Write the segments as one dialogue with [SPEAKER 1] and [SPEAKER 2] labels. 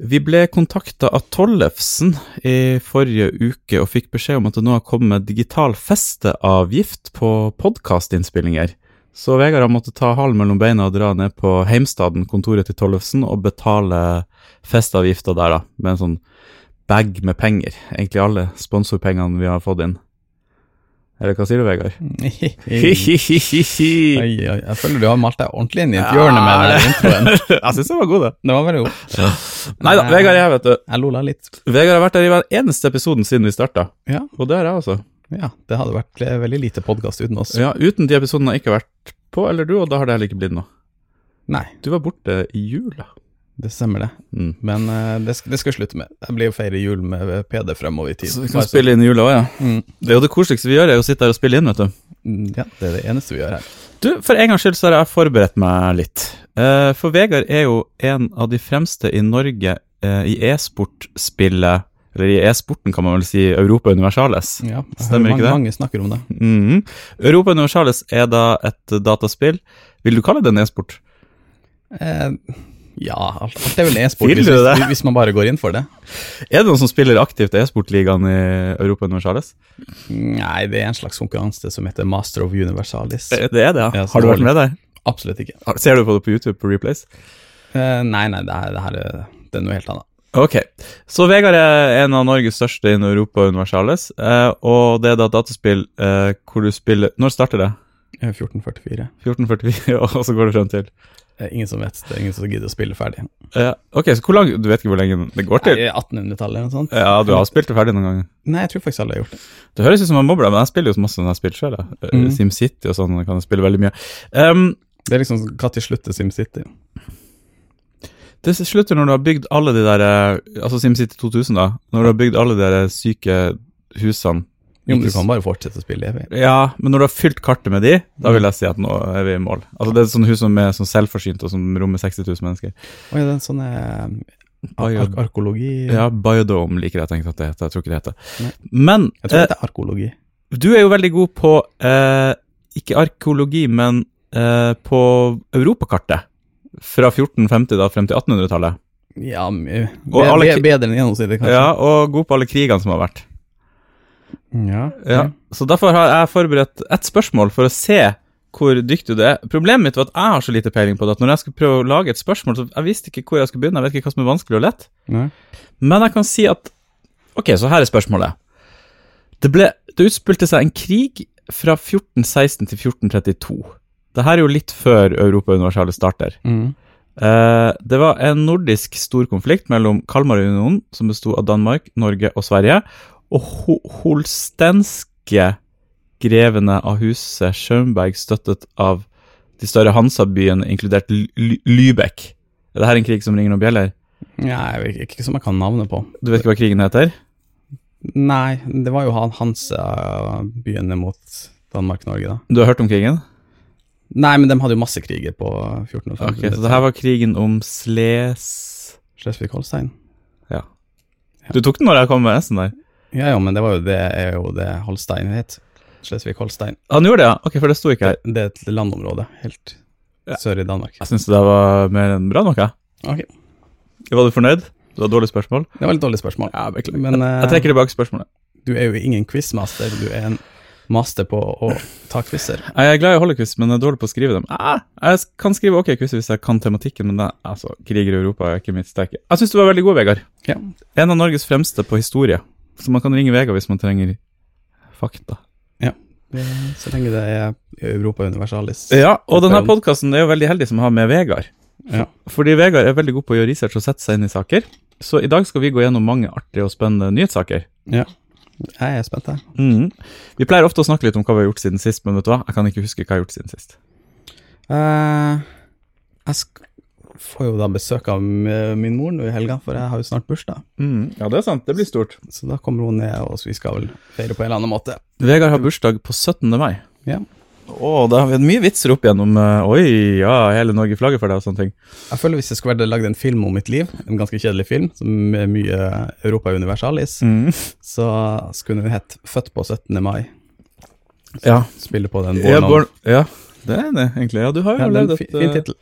[SPEAKER 1] Vi ble kontakta av Tollefsen i forrige uke og fikk beskjed om at det nå har kommet digital festeavgift på podkastinnspillinger. Så Vegard har måttet ta halen mellom beina og dra ned på heimstaden, kontoret til Tollefsen, og betale festeavgifta der, da, med en sånn bag med penger. Egentlig alle sponsorpengene vi har fått inn. Eller hva sier du, Vegard?
[SPEAKER 2] Oi, oi, jeg føler du har malt deg ordentlig inn i et
[SPEAKER 1] Ja,
[SPEAKER 2] hjørne med den introen.
[SPEAKER 1] Jeg syns den var god, det.
[SPEAKER 2] Det var veldig god.
[SPEAKER 1] Nei da, Vegard er her, vet du.
[SPEAKER 2] Jeg lola litt.
[SPEAKER 1] Vegard har vært der i hver eneste episoden siden vi starta.
[SPEAKER 2] Ja.
[SPEAKER 1] Og det har jeg også.
[SPEAKER 2] Ja, det hadde vært eh, veldig lite podkast uten oss.
[SPEAKER 1] Ja, Uten de episodene har jeg ikke vært på, eller du, og da har det heller ikke blitt noe.
[SPEAKER 2] Nei,
[SPEAKER 1] Du var borte i jula.
[SPEAKER 2] det stemmer det.
[SPEAKER 1] Mm.
[SPEAKER 2] Men eh, det, sk- det skal jeg slutte med. Jeg blir jo feire jul med PD fremover i tid.
[SPEAKER 1] Så vi
[SPEAKER 2] Bare
[SPEAKER 1] kan spille inn i jula òg, ja.
[SPEAKER 2] Mm.
[SPEAKER 1] Det er jo det koseligste vi gjør, er jo å sitte her og spille inn, vet du.
[SPEAKER 2] Mm, Ja, det er det eneste vi gjør her.
[SPEAKER 1] Du, For en gangs skyld så har jeg forberedt meg litt. Eh, for Vegard er jo en av de fremste i Norge eh, i e-sportspillet, eller i e-sporten kan man vel si, Europa Universales.
[SPEAKER 2] Ja, jeg
[SPEAKER 1] Stemmer
[SPEAKER 2] hører
[SPEAKER 1] ikke
[SPEAKER 2] mange,
[SPEAKER 1] det?
[SPEAKER 2] Mange snakker om det.
[SPEAKER 1] Mhm. Europa Universalis er da et dataspill. Vil du kalle det en e-sport?
[SPEAKER 2] Eh, ja, alt, alt er vel e-sport
[SPEAKER 1] Vil
[SPEAKER 2] hvis,
[SPEAKER 1] du det?
[SPEAKER 2] hvis, hvis man bare går inn for det.
[SPEAKER 1] Er det noen som spiller aktivt e-sportligaen i Europa Universalis?
[SPEAKER 2] Nei, det er en slags konkurranse som heter Master of Universalis.
[SPEAKER 1] Det er det, ja.
[SPEAKER 2] Ja,
[SPEAKER 1] Har du vært
[SPEAKER 2] selvfølgelig.
[SPEAKER 1] med der?
[SPEAKER 2] Absolutt ikke.
[SPEAKER 1] Har- Ser du på det på YouTube på Replays?
[SPEAKER 2] Eh, nei, nei, det her, det her er, det er noe helt annet.
[SPEAKER 1] Ok, så Vegard er en av Norges største innen Europa Universalis, eh, og det er da et dataspill eh, hvor du spiller Når starter det?
[SPEAKER 2] Eh, 1444.
[SPEAKER 1] 1444, og så går det frem til
[SPEAKER 2] Eh, Ingen som vet det, er ingen som gidder å spille ferdig.
[SPEAKER 1] eh, Ok, så hvor lang Du vet ikke hvor lenge det går
[SPEAKER 2] Nei,
[SPEAKER 1] til?
[SPEAKER 2] 1800-tallet eller noe sånt?
[SPEAKER 1] Ja, du har spilt det ferdig noen ganger.
[SPEAKER 2] Nei, jeg tror faktisk alle har gjort det.
[SPEAKER 1] Det høres ut som jeg mobber deg, men jeg spiller jo så masse når jeg spiller sjøl. Mm.
[SPEAKER 2] Mm.
[SPEAKER 1] SimCity og sånn kan jeg spille veldig mye. Ehm,
[SPEAKER 2] Det er liksom når slutter SimCity.
[SPEAKER 1] det slutter når du har bygd alle de der eh, Altså SimCity 2000, da. Når du har bygd alle de der syke husene.
[SPEAKER 2] Jo, men
[SPEAKER 1] Ikke
[SPEAKER 2] du
[SPEAKER 1] s-
[SPEAKER 2] kan bare fortsette å spille evig.
[SPEAKER 1] Ja, men når du har fylt kartet med de, da vil jeg si at nå er vi i mål. Altså Det er sånne hus som er sånn selvforsynt, og som rommer 60 000 mennesker.
[SPEAKER 2] Oi, det er en sånn eh,
[SPEAKER 1] Bio-
[SPEAKER 2] ark arkeologi
[SPEAKER 1] Ja, Biodome liker jeg tenkt at det heter. Jeg tror ikke det
[SPEAKER 2] Nei.
[SPEAKER 1] heter Men
[SPEAKER 2] Jeg tror
[SPEAKER 1] eh,
[SPEAKER 2] det er arkeologi.
[SPEAKER 1] du er jo veldig god på eh, ikke arkeologi, men eh, på europakartet. Fra 1450 da frem til 1800-tallet.
[SPEAKER 2] Ja, mye.
[SPEAKER 1] Og alle
[SPEAKER 2] Bedre,
[SPEAKER 1] kri-
[SPEAKER 2] bedre enn gjennomsnittet, kanskje.
[SPEAKER 1] Ja, og god på alle krigene som har vært.
[SPEAKER 2] Ja,
[SPEAKER 1] Ja,
[SPEAKER 2] ok.
[SPEAKER 1] Så derfor har jeg forberedt ett spørsmål for å se hvor dyktig du er. Problemet mitt var at jeg har så lite peiling på det at når jeg skulle prøve å lage et spørsmål, så jeg visste ikke hvor jeg skulle begynne. Jeg vet ikke hva som er vanskelig og lett.
[SPEAKER 2] Nei.
[SPEAKER 1] Men jeg kan si at Ok, så her er spørsmålet. Det, ble, det utspilte seg en krig fra 1416 til 1432. Det her er jo litt før Europa Universale starter.
[SPEAKER 2] Mm.
[SPEAKER 1] Eh, det var en nordisk stor konflikt mellom Kalmarunionen, som besto av Danmark, Norge og Sverige, og ho holstenske grevene av huset Schönberg, støttet av de større Hansa-byene, inkludert Ly- Ly- Lübeck. Er dette en krig som ringer noen bjeller?
[SPEAKER 2] Ja, jeg vet ikke, ikke som jeg kan navnet på.
[SPEAKER 1] Du vet ikke hva krigen heter?
[SPEAKER 2] Nei, det var jo han Hansa-byene mot Danmark-Norge, da.
[SPEAKER 1] Du har hørt om krigen?
[SPEAKER 2] Nei, men de hadde jo masse kriger på 1400-tallet.
[SPEAKER 1] Ok, Så det her var krigen om Sles...
[SPEAKER 2] Slesvig-Holstein.
[SPEAKER 1] Ja. Du tok den når jeg kom med S-en der?
[SPEAKER 2] Ja, ja, men det var jo det, er jo det Holstein het. Slesvig-Holstein.
[SPEAKER 1] Han gjorde det, ja? Ok, for det sto ikke her.
[SPEAKER 2] Det er et landområde helt
[SPEAKER 1] Ja.
[SPEAKER 2] sør i Danmark.
[SPEAKER 1] Jeg syns det var mer enn bra nok, jeg.
[SPEAKER 2] Ok,
[SPEAKER 1] Var du fornøyd? Det var et dårlig spørsmål?
[SPEAKER 2] Det var et dårlig spørsmål.
[SPEAKER 1] Ja, beklager.
[SPEAKER 2] Men eh,
[SPEAKER 1] Jeg trekker tilbake spørsmålet.
[SPEAKER 2] du er jo ingen quizmaster, du er en master på å ta quizer.
[SPEAKER 1] Jeg er glad i å holde quiz, men jeg er dårlig på å skrive dem. Ah, jeg kan skrive ok quiz hvis jeg kan tematikken, men det, altså, kriger i Europa er ikke mitt sterke. Jeg syns du var veldig god, Vegard.
[SPEAKER 2] Ja.
[SPEAKER 1] En av Norges fremste på historie. Så man kan ringe Vegard hvis man trenger fakta.
[SPEAKER 2] Eh, Så lenge det er Europa Universalis.
[SPEAKER 1] Ja, og denne podkasten er jo veldig heldig som har med Vegard.
[SPEAKER 2] Ja.
[SPEAKER 1] Fordi Vegard er veldig god på å gjøre research og sette seg inn i saker. Så i dag skal vi gå gjennom mange artige og spennende nyhetssaker.
[SPEAKER 2] Jeg er spent, jeg.
[SPEAKER 1] Mhm. Vi pleier ofte å snakke litt om hva vi har gjort siden sist, men vet du hva? Jeg kan ikke huske hva jeg har gjort siden sist.
[SPEAKER 2] Eh, jeg sk får jo da besøk av m- min mor nå i helga, for jeg har jo snart bursdag.
[SPEAKER 1] Mm, ja, det er sant. Det blir stort.
[SPEAKER 2] Så da kommer hun ned, og vi skal vel feire på en eller annen måte.
[SPEAKER 1] Vegard har bursdag på 17. mai.
[SPEAKER 2] Ja.
[SPEAKER 1] Å, da har vi hatt mye vitser opp igjennom eh, Oi, ja, hele Norge flagger for deg og sånne ting.
[SPEAKER 2] Jeg føler hvis jeg skulle vært lagd en film om mitt liv, en ganske kjedelig film, som er mye Europa Universalis, så skulle den hett 'Født på 17. mai'.
[SPEAKER 1] Ja.
[SPEAKER 2] Spille på den
[SPEAKER 1] Ja,
[SPEAKER 2] Born on-
[SPEAKER 1] born, ja, det er det, egentlig. Ja, du har jo
[SPEAKER 2] Ja, det er
[SPEAKER 1] levd
[SPEAKER 2] en
[SPEAKER 1] et,
[SPEAKER 2] fi- fin
[SPEAKER 1] eh,
[SPEAKER 2] tittel.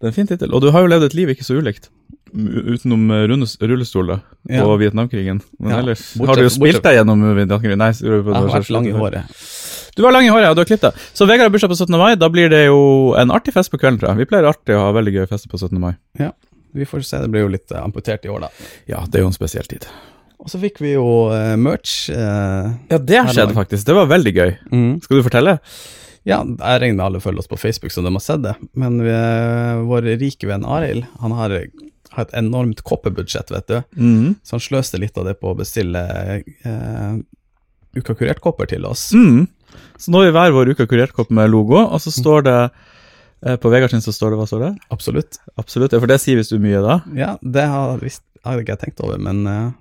[SPEAKER 1] det er en fin tittel. Og du har jo levd et liv ikke så ulikt. u- Utenom eh, rundes- rullestol da,
[SPEAKER 2] Ja.
[SPEAKER 1] og Vietnamkrigen. Men
[SPEAKER 2] Ja.
[SPEAKER 1] ellers
[SPEAKER 2] Bortsett-
[SPEAKER 1] har du jo
[SPEAKER 2] bortsett-
[SPEAKER 1] spilt deg gjennom Vietnamkrigen. Nei, så-
[SPEAKER 2] Jeg har vært lang i håret.
[SPEAKER 1] Du har lang i håret, ja. Du har klippet deg. Så Vegard har bursdag på 17. mai. Da blir det jo en artig fest på kvelden, tror jeg. Vi pleier alltid å ha veldig gøye fester på 17. mai.
[SPEAKER 2] Ja, vi får se. Det blir jo litt eh, amputert i år, da.
[SPEAKER 1] Ja, det er jo en spesiell tid.
[SPEAKER 2] Og så fikk vi jo eh, merch. eh,
[SPEAKER 1] Ja, det
[SPEAKER 2] Her
[SPEAKER 1] skjedde
[SPEAKER 2] i dag.
[SPEAKER 1] faktisk. Det var veldig gøy. Skal du fortelle?
[SPEAKER 2] Ja, jeg regner med alle følger oss på Facebook, så de har sett det. Men vi, eh, vår rike venn Arild, han har, har et enormt koppebudsjett, vet du.
[SPEAKER 1] Mm.
[SPEAKER 2] Så han sløste litt av det på å bestille eh, ukakurert kopper til oss.
[SPEAKER 1] Mm. Så nå har vi hver vår uke kurertkopp med logo, og så står det eh, På Vegard sin så står det Hva står det?
[SPEAKER 2] Absolutt.
[SPEAKER 1] Absolutt, ja, for det sier visst du mye da.
[SPEAKER 2] Ja, det har visst, har ikke jeg tenkt over, men eh,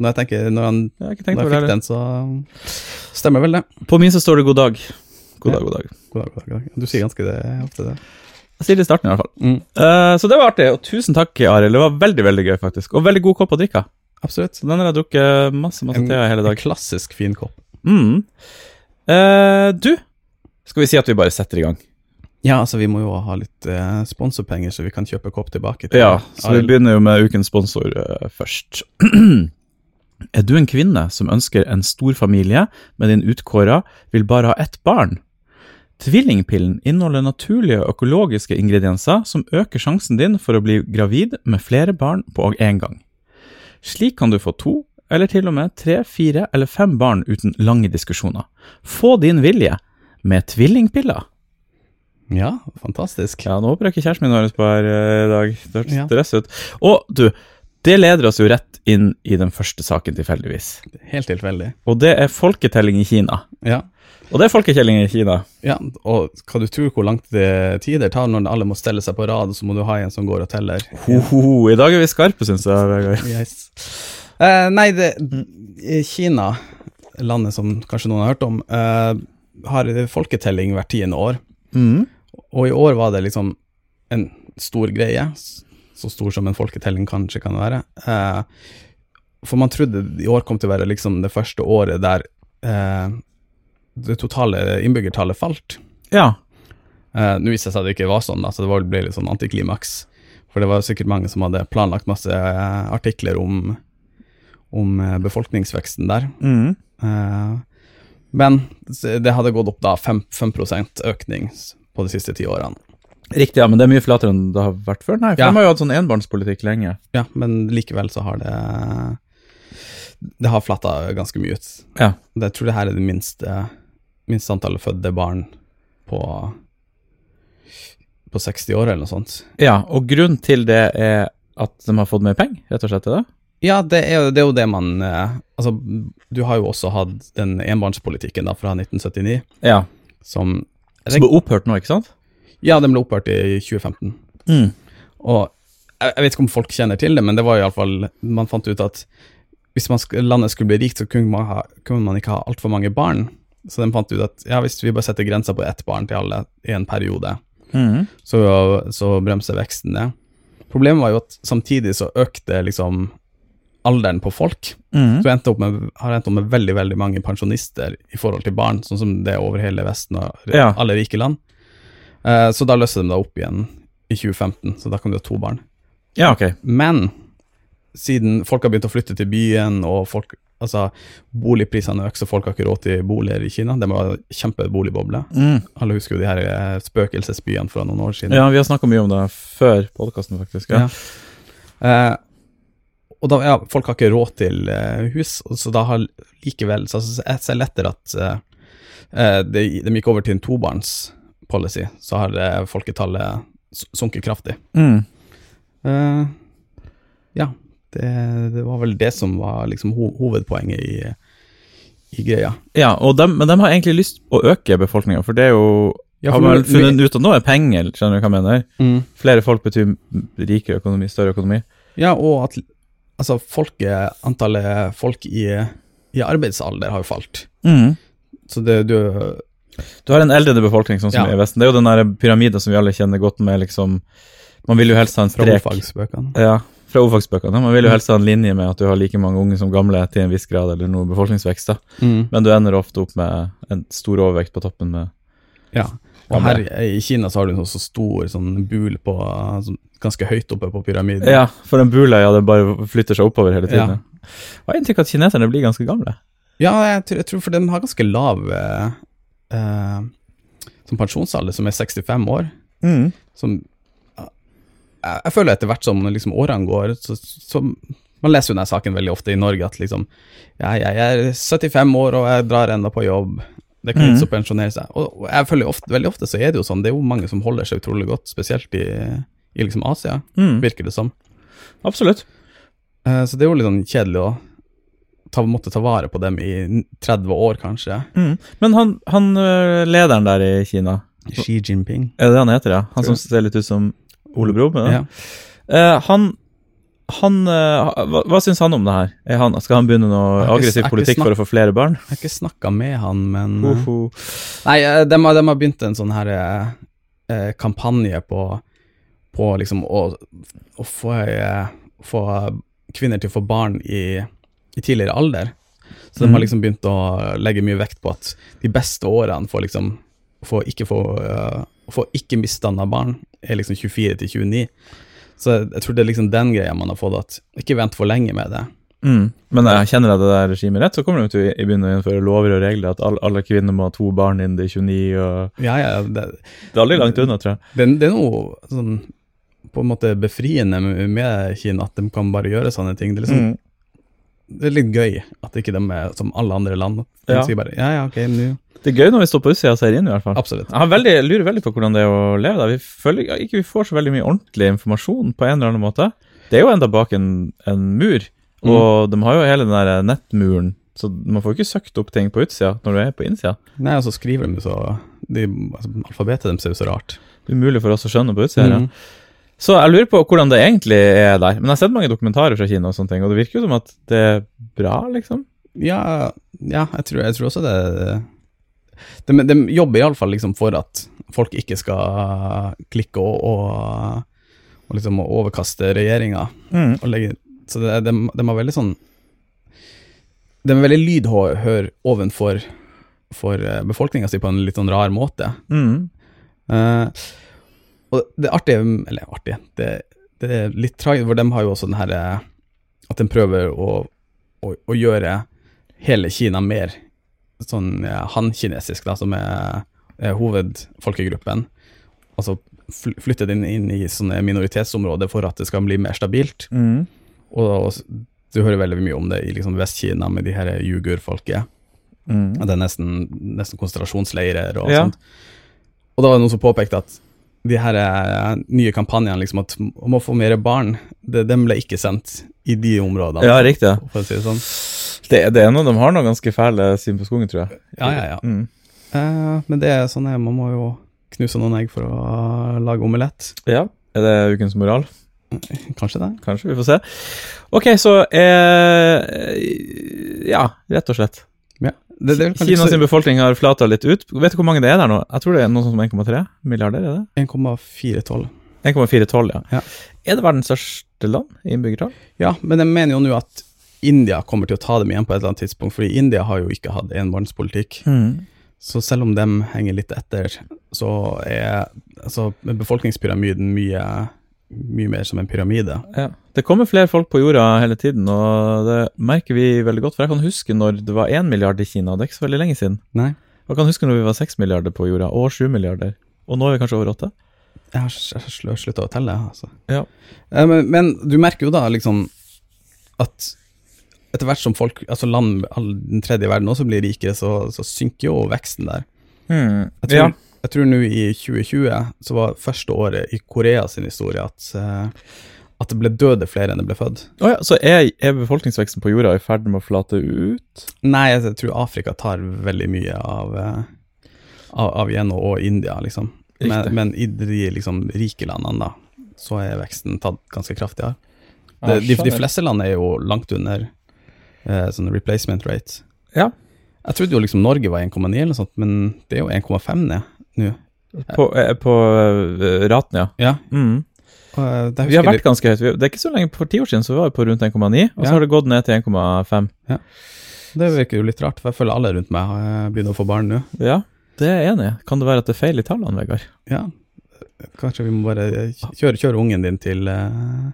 [SPEAKER 2] når jeg tenker, når han
[SPEAKER 1] Jeg har ikke tenkt
[SPEAKER 2] når jeg
[SPEAKER 1] over det
[SPEAKER 2] fikk
[SPEAKER 1] heller.
[SPEAKER 2] den, så stemmer vel det.
[SPEAKER 1] På min så står det god dag. God
[SPEAKER 2] Ja.
[SPEAKER 1] dag, god dag.
[SPEAKER 2] God dag, god dag. god dag. Du sier ganske det ofte, det.
[SPEAKER 1] Jeg sier det i starten i hvert fall.
[SPEAKER 2] Mm.
[SPEAKER 1] Eh, så det var artig, og tusen takk, Arild. Det var veldig veldig gøy, faktisk. Og veldig god kopp å drikke.
[SPEAKER 2] Absolutt.
[SPEAKER 1] Så den har jeg drukket masse masse te av i hele dag.
[SPEAKER 2] klassisk fin kopp.
[SPEAKER 1] Mm. Eh, du, skal vi si at vi bare setter i gang?
[SPEAKER 2] Ja, altså vi må jo ha litt eh, sponsorpenger, så vi kan kjøpe kopp tilbake til
[SPEAKER 1] Ja, så vi
[SPEAKER 2] Arild.
[SPEAKER 1] begynner jo med ukens sponsor eh, først. er du en kvinne som ønsker en stor familie, men din utkåra vil bare ha ett barn? Tvillingpillen inneholder naturlige og økologiske ingredienser som øker sjansen din for å bli gravid med flere barn på en gang. Slik kan du få to, eller til og med tre, fire eller fem barn uten lange diskusjoner. Få din vilje med tvillingpiller.
[SPEAKER 2] Ja, fantastisk.
[SPEAKER 1] Ja, nå håper jeg ikke kjæresten min høres på her eh, i dag. Det hørtes
[SPEAKER 2] Ja.
[SPEAKER 1] stress ut. Og du, det leder oss jo rett inn i den første saken tilfeldigvis.
[SPEAKER 2] Helt tilfeldig.
[SPEAKER 1] Og det er folketelling i Kina.
[SPEAKER 2] Ja.
[SPEAKER 1] Og det er folketelling i Kina.
[SPEAKER 2] ja, og kan du tro hvor langt det tider tar når alle må stelle seg på rad, og så må du ha en som går og teller?
[SPEAKER 1] Ho, ho, ho. I dag er vi skarpe, syns jeg. Vegard.
[SPEAKER 2] Yes. Eh, nei, det, i Kina, landet som kanskje noen har hørt om, eh, har folketelling hvert tiende år.
[SPEAKER 1] Mm.
[SPEAKER 2] Og i år var det liksom en stor greie, s- så stor som en folketelling kanskje kan være. Eh, for man trodde i år kom til å være liksom det første året der eh, det totale innbyggertallet falt.
[SPEAKER 1] Ja.
[SPEAKER 2] Eh, Nå viste det seg at det ikke var sånn, da, så det var, ble litt sånn antiklimaks. For det var sikkert mange som hadde planlagt masse eh, artikler om, om eh, befolkningsveksten der.
[SPEAKER 1] Mm.
[SPEAKER 2] Eh, Men s- det hadde gått opp da 5, 5 økning s- på de siste ti årene.
[SPEAKER 1] Riktig, ja, men det er mye flatere enn det har vært før. Nei, for
[SPEAKER 2] Ja.
[SPEAKER 1] De har jo hatt sånn enbarnspolitikk lenge.
[SPEAKER 2] Ja, men likevel så har det Det har flatta ganske mye ut.
[SPEAKER 1] Ja.
[SPEAKER 2] Og Jeg tror det her er det minste, minste antallet fødte barn på på 60 år, eller noe sånt.
[SPEAKER 1] ja, og grunnen til det er at de har fått mer penger, rett og slett? er det?
[SPEAKER 2] Ja, det er, jo- det er jo det man eh, Altså, du har jo også hatt den enbarnspolitikken da fra 1979
[SPEAKER 1] Ja.
[SPEAKER 2] som
[SPEAKER 1] Som er opphørt nå, ikke sant?
[SPEAKER 2] Ja, den ble opphørt i 2015.
[SPEAKER 1] Mm.
[SPEAKER 2] Og jeg, jeg vet ikke om folk kjenner til det, men det var iallfall Man fant ut at hvis man sk landet skulle bli rikt, så kunne man, ha, kunne man ikke ha altfor mange barn. Så de fant ut at ja, hvis vi bare setter grensa på ett barn til alle i en periode,
[SPEAKER 1] Mm.
[SPEAKER 2] så, så bremser veksten det. Problemet var jo at samtidig så økte liksom alderen på folk.
[SPEAKER 1] Mm.
[SPEAKER 2] Så vi endte opp med, har endt opp med veldig veldig mange pensjonister i forhold til barn, sånn som det er over hele Vesten og re-
[SPEAKER 1] Ja.
[SPEAKER 2] alle rike land. Eh, så da løste de det opp igjen i 2015, så da kan du ha to barn.
[SPEAKER 1] Ja, ok.
[SPEAKER 2] Men siden folk har begynt å flytte til byen, og folk, altså, boligprisene øker, så folk har ikke råd til boliger i Kina. Det var kjempeboligboble.
[SPEAKER 1] Mm.
[SPEAKER 2] Alle husker jo de her eh, spøkelsesbyene fra noen år siden.
[SPEAKER 1] Ja, vi har snakka mye om det før podkasten, faktisk. Ja.
[SPEAKER 2] Ja. Eh, og da, ja, folk har ikke råd til eh, hus, og så da har likevel så så Jeg ser lettere at eh, eh, de, de gikk over til en tobarnspolicy, så har eh, folketallet s- sunket kraftig.
[SPEAKER 1] Mm.
[SPEAKER 2] Eh, ja, det, det var vel det som var liksom ho hovedpoenget i, i greia.
[SPEAKER 1] ja og dem, men de har egentlig lyst å øke befolkninga, for det er jo
[SPEAKER 2] Ja,
[SPEAKER 1] har
[SPEAKER 2] for
[SPEAKER 1] man
[SPEAKER 2] nå-
[SPEAKER 1] funnet ut at nå er penger, skjønner du hva jeg mener?
[SPEAKER 2] Mm.
[SPEAKER 1] Flere folk betyr rikere økonomi, større økonomi.
[SPEAKER 2] Ja, og at altså, folket, antallet folk i, i arbeidsalder har jo falt. Så det du
[SPEAKER 1] Du har en eldrende befolkning, sånn som
[SPEAKER 2] Ja.
[SPEAKER 1] i Vesten. Det er jo den der pyramiden som vi alle kjenner godt med, liksom Man vil jo helst ha en
[SPEAKER 2] Fra Mm.
[SPEAKER 1] strek
[SPEAKER 2] ordfagsbøkene.
[SPEAKER 1] Ja, fra ordfagsbøkene. Man vil jo helst ha en linje med at du har like mange unge som gamle til en viss grad, eller noe befolkningsvekst, da.
[SPEAKER 2] Mm.
[SPEAKER 1] Men du ender ofte opp med en stor overvekt på toppen med
[SPEAKER 2] Ja.
[SPEAKER 1] Ja,
[SPEAKER 2] Og her i Kina så har du en så stor sånn bul på sånn, Ganske høyt oppe på pyramiden.
[SPEAKER 1] Ja, for den bula, ja, det bare flytter seg oppover hele
[SPEAKER 2] Ja.
[SPEAKER 1] tiden. Ja. Jeg har inntrykk av at kineserne blir ganske gamle.
[SPEAKER 2] Ja, jeg tror, jeg tror for den har ganske lav eh, eh, som pensjonsalder, som er 65 år. Som ja, jeg, jeg føler etter hvert som liksom, årene går, så, så Man leser jo denne saken veldig ofte i Norge at liksom Ja, jeg er 75 år og jeg drar ennå på jobb. Det er ikke vits å pensjonere seg. Og, og jeg føler jo ofte, veldig ofte så er det jo sånn, det er jo mange som holder seg utrolig godt, spesielt i, i liksom Asia,
[SPEAKER 1] Mm.
[SPEAKER 2] virker det som.
[SPEAKER 1] Absolutt.
[SPEAKER 2] Eh, Så det er jo litt sånn kjedelig å ta, måtte ta vare på dem i 30 år, kanskje.
[SPEAKER 1] Men han, han øh, lederen der i Kina,
[SPEAKER 2] Xi Jinping.
[SPEAKER 1] er det det han heter, ja? Han
[SPEAKER 2] Tror
[SPEAKER 1] som ser litt ut som Ole Bro? men-
[SPEAKER 2] Ja.
[SPEAKER 1] Eh, han han, eh, hva, hva syns han om det her? Er han, skal han begynne noe
[SPEAKER 2] Jeg har ikke- jeg
[SPEAKER 1] aggressiv
[SPEAKER 2] har ikke
[SPEAKER 1] politikk for å få flere barn?
[SPEAKER 2] Jeg har ikke snakka med han, men
[SPEAKER 1] Hoho.
[SPEAKER 2] Nei, eh, de har, de har begynt en sånn her eh, eh, kampanje på, på liksom å, å få, eh, få kvinner til å få barn i, i tidligere alder. Så de
[SPEAKER 1] Mhm.
[SPEAKER 2] har liksom begynt å legge mye vekt på at de beste årene for liksom for ikke få eh, for ikke misdanna barn er liksom 24 til 29. Så jeg, jeg tror det er liksom den greia man har fått, at ikke vent for lenge med det.
[SPEAKER 1] Mm. Men jeg kjenner jeg det der regimet rett, så kommer de til å begynne å innføre lover og regler at alle, alle kvinner må ha to barn innen de er 29, og
[SPEAKER 2] Ja, ja, det,
[SPEAKER 1] Det er aldri langt unna, tror jeg.
[SPEAKER 2] Det, det er noe sånn på en måte befriende med Kina, at de kan bare gjøre sånne ting. Det er, liksom,
[SPEAKER 1] Mm.
[SPEAKER 2] det er litt gøy at ikke de er som alle andre land. De
[SPEAKER 1] Ja.
[SPEAKER 2] sier bare ja, ja, ok, nå
[SPEAKER 1] Det er gøy når vi står på utsida og ser inn, i hvert fall.
[SPEAKER 2] Absolutt.
[SPEAKER 1] Jeg har veldig, jeg lurer veldig på hvordan det er å leve der. Vi føler ja, ikke vi får så veldig mye ordentlig informasjon på en eller annen måte. Det er jo enda bak en, en mur, og de har jo hele den der nettmuren, så man får jo ikke søkt opp ting på utsida når du er på innsida.
[SPEAKER 2] Nei, og så skriver de så de, altså, Alfabetet deres er jo så rart.
[SPEAKER 1] Det er umulig for oss å skjønne på utsida. ja.
[SPEAKER 2] Mhm.
[SPEAKER 1] Så jeg lurer på hvordan det egentlig er der. Men jeg har sett mange dokumentarer fra Kina, og sånne ting, og det virker jo som at det er bra, liksom.
[SPEAKER 2] Ja, ja jeg, tror, jeg tror også det De, de jobber iallfall liksom for at folk ikke skal klikke og, og, og liksom overkaste regjeringa.
[SPEAKER 1] Mm.
[SPEAKER 2] og legge Så det, de, de har veldig sånn De er veldig lydhør ovenfor for befolkninga si på en litt sånn rar måte.
[SPEAKER 1] Mm.
[SPEAKER 2] Eh, og det artige Eller artige, det, det er litt tragisk, for de har jo også den her eh, At de prøver å, å, å gjøre hele Kina mer sånn eh, han-kinesisk, da, som er, er hovedfolkegruppen. Altså fl- flytte den inn i sånne minoritetsområder for at det skal bli mer stabilt.
[SPEAKER 1] Mm.
[SPEAKER 2] Og, og s- du hører veldig mye om det i liksom Vest-Kina med de her uigur-folket.
[SPEAKER 1] Mm.
[SPEAKER 2] At Det er nesten, nesten konsentrasjonsleirer og
[SPEAKER 1] Ja.
[SPEAKER 2] sånt. Og da var det noen som påpekte at de her eh, nye kampanjene liksom at om å få mer barn, det, dem ble ikke sendt i de områdene.
[SPEAKER 1] Ja, riktig. ja.
[SPEAKER 2] For å si det sånn.
[SPEAKER 1] Det, det er noe de har noe ganske fæle syn på skogen, tror jeg.
[SPEAKER 2] Ja, ja, ja.
[SPEAKER 1] Mm.
[SPEAKER 2] Eh, men det er sånn er, man må jo knuse noen egg for å lage omelett.
[SPEAKER 1] ja. Er det ukens moral?
[SPEAKER 2] Kanskje det.
[SPEAKER 1] Kanskje, vi får se. Ok, så eh, Ja, rett og slett.
[SPEAKER 2] Ja. det, det er vel kanskje
[SPEAKER 1] Kina
[SPEAKER 2] ikke
[SPEAKER 1] sin befolkning har flata litt ut. Vet du hvor mange det er der nå? Jeg tror det er noe sånt som 1,3 milliarder? er det?
[SPEAKER 2] så 1,412.
[SPEAKER 1] 1,412, ja.
[SPEAKER 2] Ja.
[SPEAKER 1] Er det verdens største land i innbyggertall?
[SPEAKER 2] Ja, men jeg mener jo nå at India kommer til å ta dem igjen på et eller annet tidspunkt, fordi India har jo ikke hatt enbarnspolitikk.
[SPEAKER 1] Mm.
[SPEAKER 2] Så selv om de henger litt etter, så er altså, befolkningspyramiden mye, mye mer som en pyramide.
[SPEAKER 1] Ja. Det kommer flere folk på jorda hele tiden, og det merker vi veldig godt. For jeg kan huske når det var 1 milliard i Kina, det er ikke så veldig lenge siden.
[SPEAKER 2] Nei,
[SPEAKER 1] Og Jeg kan huske når vi var 6 milliarder på jorda, og 7 milliarder. Og nå er vi kanskje over 8?
[SPEAKER 2] jeg har s- jeg har slø- sluttet å telle, altså.
[SPEAKER 1] Ja.
[SPEAKER 2] Eh, Men, men du merker jo da liksom at etter hvert som folk, altså land, all den tredje verden også blir rikere, så, så synker jo veksten der. Jeg tror,
[SPEAKER 1] Mm. Ja.
[SPEAKER 2] jeg tror nå i 2020 så var første året i Korea sin historie at, eh, at det ble døde flere enn det ble født.
[SPEAKER 1] Å ja, så er, er befolkningsveksten på jorda i ferd med å flate ut?
[SPEAKER 2] Nei, jeg tror Afrika tar veldig mye av eh, av, av Geno og India, liksom.
[SPEAKER 1] Riktig.
[SPEAKER 2] Men, men i de liksom, rike landene, da, så er veksten tatt ganske kraftig her.
[SPEAKER 3] Ja,
[SPEAKER 2] De, de, de
[SPEAKER 3] skjønner.
[SPEAKER 2] fleste land er jo langt under eh, sånn replacement rate.
[SPEAKER 1] Ja,
[SPEAKER 2] Jeg trodde jo liksom Norge var 1,9 eller noe sånt, men det er jo 1,5 ned nå.
[SPEAKER 1] på, eh, på eh, raten, ja.
[SPEAKER 2] Ja,
[SPEAKER 1] Mm.
[SPEAKER 2] og, eh, det
[SPEAKER 1] Vi har
[SPEAKER 2] husker
[SPEAKER 1] vært ganske høyt. Vi- Det er ikke så lenge, For ti år siden så var vi på rundt 1,9, og så
[SPEAKER 2] Ja.
[SPEAKER 1] har det gått ned til 1,5.
[SPEAKER 2] litt- det virker jo litt rart, for jeg føler alle rundt meg har begynt å få barn nå.
[SPEAKER 1] Ja, det er jeg enig i. Kan det være at det er feil i tallene, Vegard?
[SPEAKER 2] Ja, kanskje vi må bare kjøre, kjøre ungen din til, eh,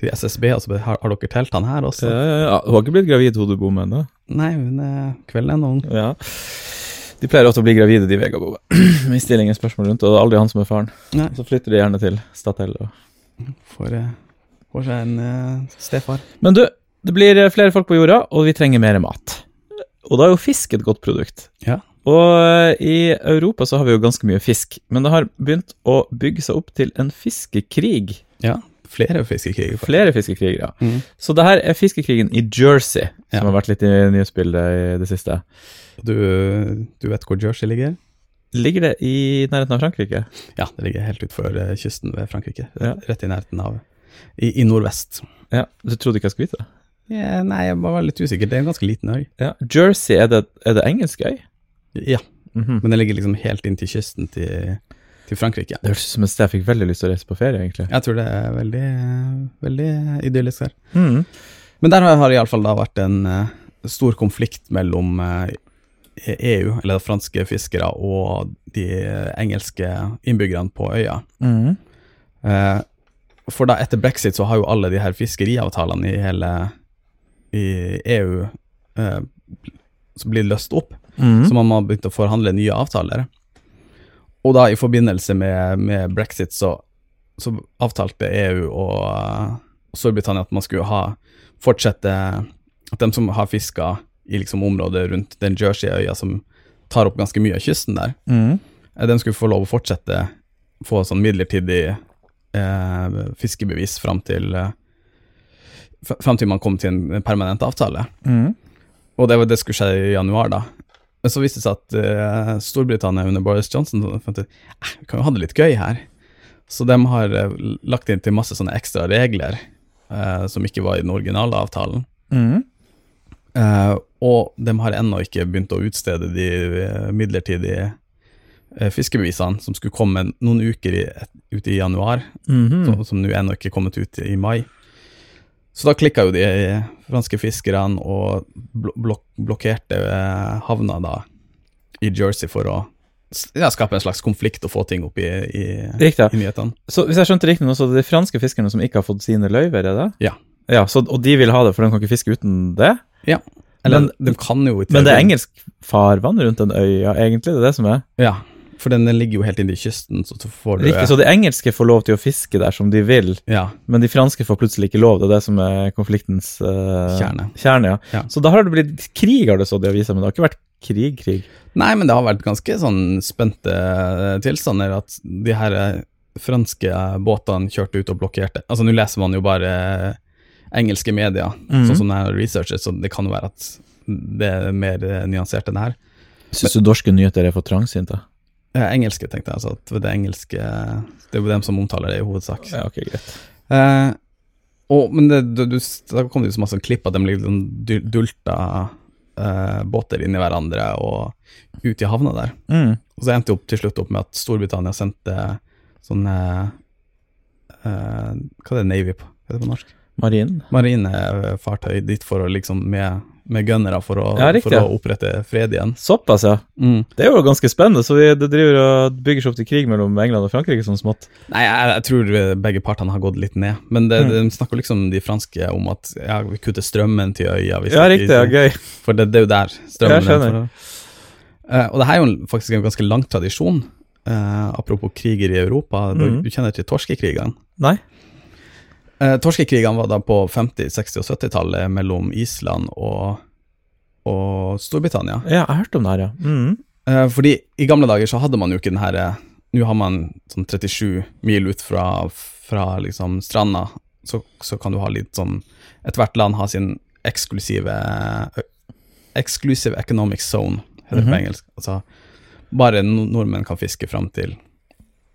[SPEAKER 2] til SSB, og så bare, altså, har, har dere telt han her også?
[SPEAKER 1] Ja, hun har ikke blitt gravid, hodebom ennå.
[SPEAKER 2] Nei, hun er kvelden er nå ung.
[SPEAKER 1] Ja. De pleier ofte å bli gravide, de vegaboene. Vi stiller ingen spørsmål rundt, og det er aldri han som er faren.
[SPEAKER 2] Nei.
[SPEAKER 1] Så flytter de gjerne til Statoil. Og...
[SPEAKER 2] Får, eh, får seg en eh, stefar.
[SPEAKER 1] Men du, det blir eh, flere folk på jorda, og vi trenger mer mat. Og da er jo fisk et godt produkt.
[SPEAKER 2] Ja.
[SPEAKER 1] Og eh, i Europa så har vi jo ganske mye fisk, men det har begynt å bygge seg opp til en fiskekrig.
[SPEAKER 2] Ja, flere fiskekriger. faktisk.
[SPEAKER 1] Flere fiskekriger, ja.
[SPEAKER 2] Mhm.
[SPEAKER 1] Så det her er fiskekrigen i Jersey,
[SPEAKER 2] Ja.
[SPEAKER 1] som har vært litt i nyhetsbildet i det siste.
[SPEAKER 2] Du, du vet hvor Jersey ligger?
[SPEAKER 1] Ligger det i nærheten av Frankrike?
[SPEAKER 2] Ja, det ligger helt utfor eh, kysten ved Frankrike.
[SPEAKER 1] Ja.
[SPEAKER 2] Rett i nærheten av I, i nordvest.
[SPEAKER 1] Ja, du trodde ikke jeg skulle vite det?
[SPEAKER 2] Ja, nei, jeg var litt usikker. Det er en ganske liten øy.
[SPEAKER 1] Ja. Jersey, er det, er det engelsk øy?
[SPEAKER 2] Ja, men den ligger liksom helt inn til kysten til, til Frankrike.
[SPEAKER 1] Det høres ut som et sted jeg fikk veldig lyst til å reise på ferie, egentlig.
[SPEAKER 2] Jeg tror det er veldig, eh, veldig idyllisk her.
[SPEAKER 1] Mhm.
[SPEAKER 2] Men der har det iallfall vært en eh, stor konflikt mellom eh, EU, eller franske fiskere, og de engelske innbyggerne på øya.
[SPEAKER 1] Mhm.
[SPEAKER 2] Eh, for da etter brexit så har jo alle de her fiskeriavtalene i hele i EU eh, som blir løst opp,
[SPEAKER 1] Mhm.
[SPEAKER 2] så man har begynt å forhandle nye avtaler. Og da i forbindelse med, med brexit så, så avtalte EU og eh, Storbritannia at man skulle ha fortsette at de som har fiska i liksom området rundt den Jersey-øya som tar opp ganske mye av kysten der,
[SPEAKER 1] Mhm.
[SPEAKER 2] Eh, De skulle få lov å fortsette få sånn midlertidig eh, fiskebevis fram til eh, f- Fram til man kom til en permanent avtale.
[SPEAKER 1] Mhm.
[SPEAKER 2] Og det, var- det skulle skje i januar, da. Men så viste det seg at eh, Storbritannia under Boris Johnson fant ut eh, vi kan jo ha det litt gøy her. Så de har eh, lagt inn til masse sånne ekstra regler eh, som ikke var i den originale avtalen.
[SPEAKER 1] Mhm.
[SPEAKER 2] Eh, og de har ennå ikke begynt å utstede de eh, midlertidige eh, fiskebevisene som skulle komme noen uker i, et, ut i januar,
[SPEAKER 1] Mhm.
[SPEAKER 2] som- som nå ennå ikke er kommet ut i mai. Så da klikka jo de eh, franske fiskerne og blo blok blokkerte eh, havna da i Jersey for å s- ja, skape en slags konflikt og få ting opp i, i,
[SPEAKER 1] Riktig.
[SPEAKER 2] i nyhetene.
[SPEAKER 1] Så hvis jeg skjønte riktig nå, så er det de franske fiskerne som ikke har fått sine løyver, er det?
[SPEAKER 2] Ja.
[SPEAKER 1] ja så, og de vil ha det, for de kan ikke fiske uten det?
[SPEAKER 2] Ja. Eller,
[SPEAKER 1] Men-
[SPEAKER 2] de kan jo i
[SPEAKER 1] Men det er
[SPEAKER 2] teorien-
[SPEAKER 1] engelsk farvann rundt den øya, egentlig? Det er det som er?
[SPEAKER 2] Ja, for den ligger jo helt inn i kysten, så, så får du eh,
[SPEAKER 1] Riktig, så de engelske får lov til å fiske der som de vil,
[SPEAKER 2] ja.
[SPEAKER 1] men de franske får plutselig ikke lov. Det er det som er konfliktens eh,
[SPEAKER 2] Kjerne.
[SPEAKER 1] kjerne ja.
[SPEAKER 2] Ja.
[SPEAKER 1] Så da har det blitt krig, har det stått i avisa, men det har ikke vært krig-krig.
[SPEAKER 2] Nei, men det har vært ganske sånn spente eh, tilstander at de her eh, franske eh, båtene kjørte ut og blokkerte. Altså, nå leser man jo bare eh, engelske medier, sånn som denne researchet, så det kan jo være at det er mer eh, nyansert enn det her.
[SPEAKER 1] Syns du norske nyheter er for trangsynte?
[SPEAKER 2] Eh, engelske, tenkte jeg, altså. At det engelske Det er jo dem som omtaler det i hovedsak.
[SPEAKER 1] Ja, ok, greit.
[SPEAKER 2] Eh, og, men det, du, du, da kom det jo så masse klipp at de blir sånn dul- dulta eh, båter inn i hverandre og ut i havna der.
[SPEAKER 1] Mm.
[SPEAKER 2] Og så endte det opp, til slutt opp med at Storbritannia sendte sånne eh, Hva er det Navy på? Hva er det på norsk?
[SPEAKER 1] Marin?
[SPEAKER 2] Marinefartøy dit for å liksom med, med gunnere for, å-
[SPEAKER 1] Ja, riktig. Mm.
[SPEAKER 2] for å opprette fred igjen.
[SPEAKER 1] Såpass, ja. Det er jo ganske spennende, så vi, det driver og bygger seg opp til krig mellom England og Frankrike sånn smått.
[SPEAKER 2] Nei, jeg, jeg tror begge partene har gått litt ned.
[SPEAKER 1] Mm.
[SPEAKER 2] Men det, de snakker liksom de franske om at ja, vi kutter strømmen til øya. hvis
[SPEAKER 1] Ja,
[SPEAKER 2] ikke-
[SPEAKER 1] riktig, ja, gøy.
[SPEAKER 2] For det, det er jo der strømmen
[SPEAKER 1] Jeg skjønner.
[SPEAKER 2] Eh, og det her er jo en- faktisk en ganske lang tradisjon. eh, apropos kriger i Europa,
[SPEAKER 1] Mm.
[SPEAKER 2] du, du kjenner til torskekrigene.
[SPEAKER 1] Nei?
[SPEAKER 2] Eh, torskekrigene var da på 50-, 60- og 70-tallet mellom Island og, og Storbritannia.
[SPEAKER 1] Ja, jeg har hørt om det her, ja. Mm.
[SPEAKER 2] Eh, fordi i gamle dager så hadde man jo ikke den her eh, Nå har man sånn 37 mil ut fra, fra liksom stranda, så, så kan du ha litt sånn Ethvert land har sin eksklusive eh, Exclusive Economic Zone, heter det på engelsk. Altså, bare no- nordmenn kan fiske fram til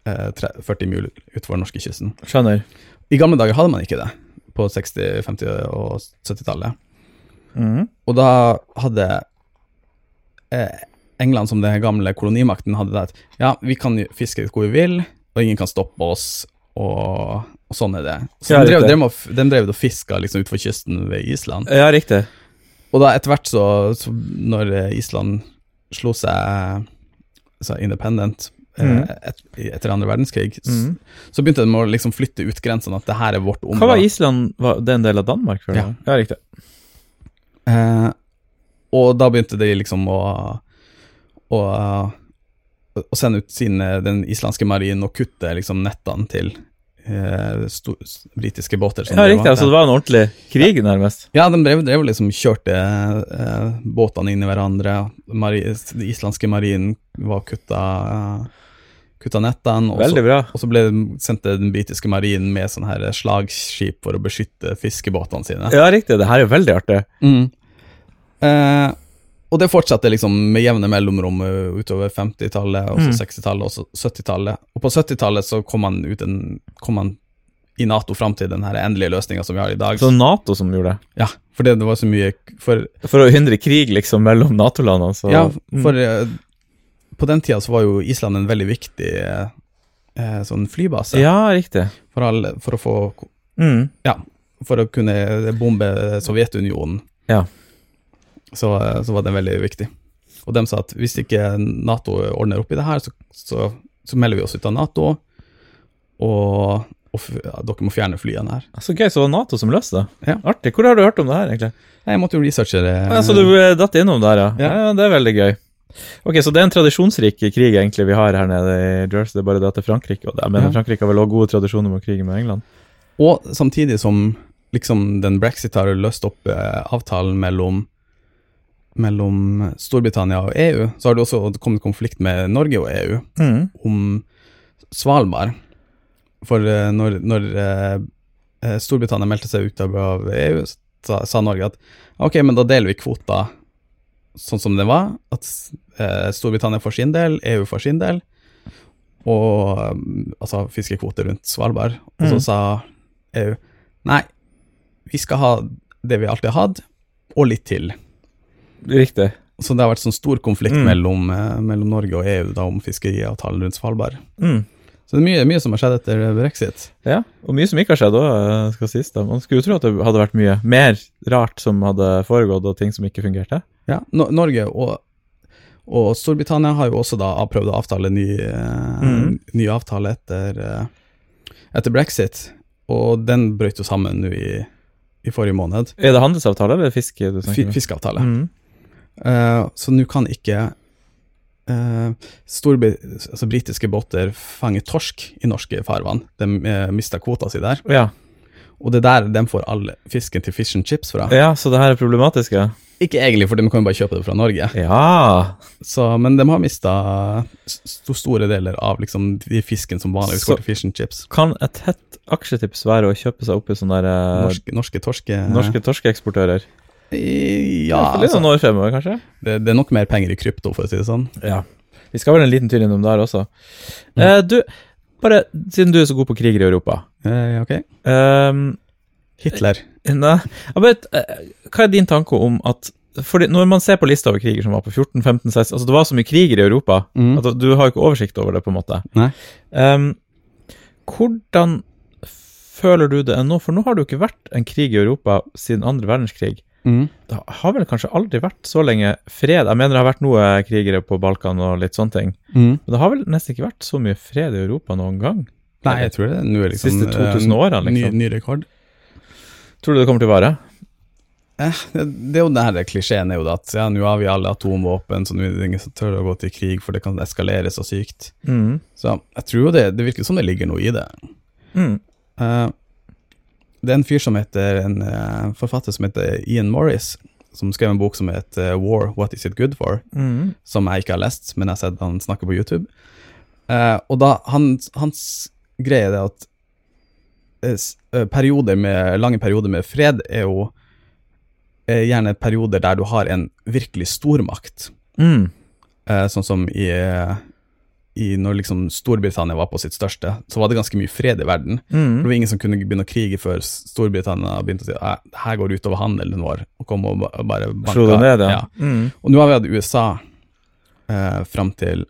[SPEAKER 2] eh, tre- 40 mil utenfor norskekysten.
[SPEAKER 1] Skjønner.
[SPEAKER 2] I gamle dager hadde man ikke det, på 60-, 50- og 70-tallet.
[SPEAKER 1] Mhm.
[SPEAKER 2] Og da hadde eh, England, som den gamle kolonimakten, hadde det at ja, vi kan jo fiske hvor vi vil, og ingen kan stoppe oss, og, og sånn er det. Så
[SPEAKER 1] Ja,
[SPEAKER 2] de drev,
[SPEAKER 1] riktig.
[SPEAKER 2] drev, og f- de drev og fiska liksom utfor kysten ved Island.
[SPEAKER 1] Ja, riktig.
[SPEAKER 2] Og da etter hvert, så, så når eh, Island slo seg så independent eh,
[SPEAKER 1] Mhm.
[SPEAKER 2] et, etter andre verdenskrig, s-
[SPEAKER 1] Mhm.
[SPEAKER 2] så begynte de å liksom flytte ut grensene, at det her er vårt
[SPEAKER 1] Hva var
[SPEAKER 2] område.
[SPEAKER 1] Island? Var det en del av Danmark? før?
[SPEAKER 2] Ja.
[SPEAKER 1] ja, riktig.
[SPEAKER 2] Eh, og da begynte de liksom å, å, å sende ut sine, den islandske marinen og kutte liksom nettene til eh, sto, s- britiske båter. som
[SPEAKER 1] Ja,
[SPEAKER 2] drev
[SPEAKER 1] riktig.
[SPEAKER 2] med
[SPEAKER 1] Altså, det var en ordentlig krig, nærmest.
[SPEAKER 2] Ja, de drev, drev og liksom kjørte eh, båtene inn i hverandre. Mari, den islandske marinen var kutta, eh, kutta nettene. Og
[SPEAKER 1] Veldig
[SPEAKER 2] så,
[SPEAKER 1] bra.
[SPEAKER 2] og så ble, sendte den britiske marinen med sånne her slagskip for å beskytte fiskebåtene sine.
[SPEAKER 1] Ja, riktig. Det her er jo veldig artig.
[SPEAKER 2] Mm. Eh, og det fortsatte liksom med jevne mellomrom eh, utover 50-tallet, og
[SPEAKER 1] Mm.
[SPEAKER 2] så 60-tallet og så 70-tallet. Og på 70-tallet så kom man, ut en, kom man i Nato fram til den her endelige løsninga som vi har i dag.
[SPEAKER 1] Så Nato som gjorde det.
[SPEAKER 2] Ja, fordi det var så mye For,
[SPEAKER 1] For å hindre krig liksom mellom Nato-landene. Så. Mm.
[SPEAKER 2] ja, for eh, på den tida så var jo Island en veldig viktig eh, eh, sånn flybase
[SPEAKER 1] Ja, riktig.
[SPEAKER 2] for, alle, for å få
[SPEAKER 1] Mm.
[SPEAKER 2] Ja, for å kunne bombe Sovjetunionen.
[SPEAKER 1] Ja.
[SPEAKER 2] Så, eh, så var det veldig viktig. Og de sa at hvis ikke Nato ordner opp i det her, så, så, så melder vi oss ut av Nato, og, og f- ja, dere må fjerne flyene her.
[SPEAKER 1] Så gøy, så var det Nato som løste det.
[SPEAKER 2] Ja.
[SPEAKER 1] Artig. Hvor har du hørt om det her, egentlig?
[SPEAKER 2] Jeg måtte jo researche det.
[SPEAKER 1] Ja, så du eh, datt innom der, ja. ja.
[SPEAKER 2] Ja.
[SPEAKER 1] Det er veldig gøy. Ok, Så det er en tradisjonsrik krig egentlig vi har her nede i Jersey, det er bare det at det er Frankrike. Og det, men
[SPEAKER 2] Ja.
[SPEAKER 1] Frankrike har vel også gode tradisjoner med å krige med England?
[SPEAKER 2] Og samtidig som liksom den brexit har løst opp eh, avtalen mellom mellom Storbritannia og EU, så har det også kommet konflikt med Norge og E EU. om Svalbard. For eh, når, når eh, eh, Storbritannia meldte seg ut av- av EU, sa, sa Norge at ok, men da deler vi kvota sånn som det var. At eh, Storbritannia får sin del, EU får sin del. Og eh, altså fiskekvote rundt Svalbard. Og så
[SPEAKER 1] Mm.
[SPEAKER 2] sa EU nei, vi skal ha det vi alltid har hatt, og litt til.
[SPEAKER 1] Riktig.
[SPEAKER 2] Så det har vært sånn stor konflikt
[SPEAKER 1] Mm.
[SPEAKER 2] mellom, eh, mellom Norge og EU da, om fiskeriavtalen rundt Svalbard.
[SPEAKER 1] Mm.
[SPEAKER 2] Så det er mye, mye som har skjedd etter brexit.
[SPEAKER 1] Ja, og mye som ikke har skjedd òg, skal sies. da. Man skulle jo tro at det hadde vært mye mer rart som hadde foregått, og ting som ikke fungerte.
[SPEAKER 2] Ja, no Norge og, og Storbritannia har jo også da prøvd å avtale ny, eh,
[SPEAKER 1] Mhm.
[SPEAKER 2] ny avtale etter, eh, etter brexit, og den brøt jo sammen nå i, i forrige måned.
[SPEAKER 1] Er det handelsavtale eller fiske du
[SPEAKER 2] Fi-
[SPEAKER 1] snakker om?
[SPEAKER 2] Fiskeavtale.
[SPEAKER 1] Mm.
[SPEAKER 2] Eh, så nå kan ikke eh, storbri- altså britiske båter fange torsk i norske farvann. De uh, mista kvota si der,
[SPEAKER 1] Ja.
[SPEAKER 2] og det er der de får all fisken til fish and chips fra.
[SPEAKER 1] ja, så det her er problematisk, ja?
[SPEAKER 2] Ikke egentlig, for de kan jo bare kjøpe det fra Norge.
[SPEAKER 1] Ja!
[SPEAKER 2] Så, men de har mista st store deler av liksom de fisken som vanligvis går
[SPEAKER 1] Så-
[SPEAKER 2] til fish and chips.
[SPEAKER 1] Kan et hett aksjetips være å kjøpe seg opp i sånne der, eh,
[SPEAKER 2] Norske, norske torske...
[SPEAKER 1] norske torskeeksportører?
[SPEAKER 2] I-
[SPEAKER 1] Ja,
[SPEAKER 2] Ja,
[SPEAKER 1] for sånn- litt
[SPEAKER 2] altså,
[SPEAKER 1] noen år fremover, kanskje?
[SPEAKER 2] det, det er nok mer penger i krypto, for å si det sånn.
[SPEAKER 1] Ja. Vi skal vel en liten tur innom der også. Eh, du, bare siden du er så god på kriger i Europa
[SPEAKER 2] Eh, ok.
[SPEAKER 1] ehm,
[SPEAKER 2] Hitler.
[SPEAKER 1] Nei, jeg bare, eh, hva er din tanke om at fordi Når man ser på lista over kriger som var på 14, 15, 16 altså Det var så mye kriger i Europa
[SPEAKER 2] Mm.
[SPEAKER 1] at du har jo ikke oversikt over det, på en måte.
[SPEAKER 2] Nei.
[SPEAKER 1] Ehm, hvordan føler du det er nå? For nå har det jo ikke vært en krig i Europa siden andre verdenskrig.
[SPEAKER 2] Mm.
[SPEAKER 1] Det har vel kanskje aldri vært så lenge fred? Jeg mener det har vært noe krigere på Balkan og litt sånne ting.
[SPEAKER 2] Mm.
[SPEAKER 1] Men det har vel nesten ikke vært så mye fred i Europa noen gang?
[SPEAKER 2] Nei, jeg tror det nå er liksom
[SPEAKER 1] Siste 2000
[SPEAKER 2] eh,
[SPEAKER 1] årene, liksom.
[SPEAKER 2] Ny, ny rekord.
[SPEAKER 1] Tror du det kommer til å vare?
[SPEAKER 2] Eh, det, det er jo den her klisjeen er jo det at ja, nå har vi alle atomvåpen, så nå er det ingen som tør å gå til krig, for det kan eskalere så sykt.
[SPEAKER 1] Mm.
[SPEAKER 2] Så jeg tror jo det, det virker som det ligger noe i det.
[SPEAKER 1] Mm.
[SPEAKER 2] Eh, det er en fyr som heter, en eh, forfatter som heter Ian Morris, som skrev en bok som heter eh, War, What Is It Good For?
[SPEAKER 1] Mm.
[SPEAKER 2] Som jeg ikke har lest, men jeg har sett han snakke på YouTube. Eh, og da, han, hans greie er det at eh, s- eh, perioder med, lange perioder med fred er jo eh, gjerne perioder der du har en virkelig stormakt
[SPEAKER 1] Mm.
[SPEAKER 2] Eh, sånn som i, eh, i Når liksom Storbritannia var på sitt største, så var det ganske mye fred i verden. Det
[SPEAKER 1] Mm.
[SPEAKER 2] var ingen som kunne begynne å krige før Storbritannia begynte å si at det her går det utover handelen vår, og kom og ba- bare banka.
[SPEAKER 1] Slo det ned, ja. Mm.
[SPEAKER 2] Og nå har vi hatt USA eh, fram til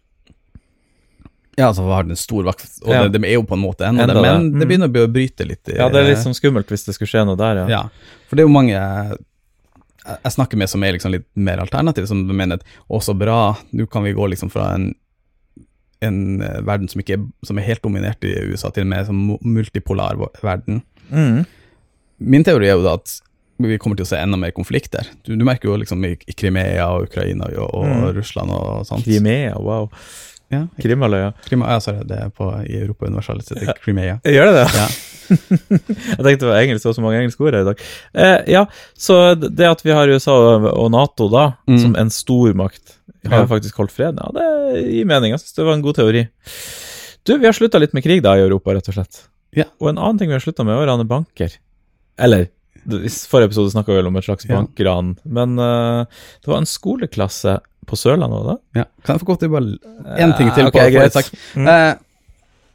[SPEAKER 2] Ja, altså har den stor vakt, og
[SPEAKER 1] Ja.
[SPEAKER 2] det, de er jo på en måte ennå,
[SPEAKER 1] Enda
[SPEAKER 2] det, men
[SPEAKER 1] det.
[SPEAKER 2] det
[SPEAKER 1] Mm.
[SPEAKER 2] begynner å bli å bryte litt. i-
[SPEAKER 1] Ja, det er litt sånn skummelt hvis det skulle skje noe der, ja.
[SPEAKER 2] ja, for det er jo mange jeg jeg snakker med som er liksom litt mer alternative, som mener at å, så bra, nå kan vi gå liksom fra en, en eh, verden som, ikke, er- som er helt dominert i USA, til en mer sånn mu- multipolar vo- verden.
[SPEAKER 1] Mm.
[SPEAKER 2] Min teori er jo da at vi kommer til å se enda mer konflikter. Du, du merker jo liksom i, i Krimea og Ukraina og, og
[SPEAKER 1] Mm.
[SPEAKER 2] Russland og sånt.
[SPEAKER 1] Krimea, wow.
[SPEAKER 2] Ja,
[SPEAKER 1] Krimaløya.
[SPEAKER 2] Krima, ja, sorry, det er på, i Europa universalis, det heter Crimea.
[SPEAKER 1] Gjør det det?
[SPEAKER 2] Ja.
[SPEAKER 1] Jeg tenkte det var engelsk, det var så mange engelske ord her i dag. Eh, ja, så det at vi har USA og og Nato da,
[SPEAKER 2] Mm.
[SPEAKER 1] som en stormakt, har
[SPEAKER 2] Ja.
[SPEAKER 1] faktisk holdt fred, ja, det gir mening. Jeg synes det var en god teori. Du, vi har slutta litt med krig da i Europa, rett og slett.
[SPEAKER 2] Ja.
[SPEAKER 1] Og en annen ting vi har slutta med, er å rane banker. Eller i forrige episode snakka vi vel om et slags
[SPEAKER 2] Ja.
[SPEAKER 1] bankran, men eh, det var en skoleklasse på Sørlandet, var det?
[SPEAKER 2] Ja. Kan jeg få gå til bare en ting til?
[SPEAKER 1] Eh, ok,
[SPEAKER 2] på, på
[SPEAKER 1] greit.
[SPEAKER 2] et sak?
[SPEAKER 1] Mm.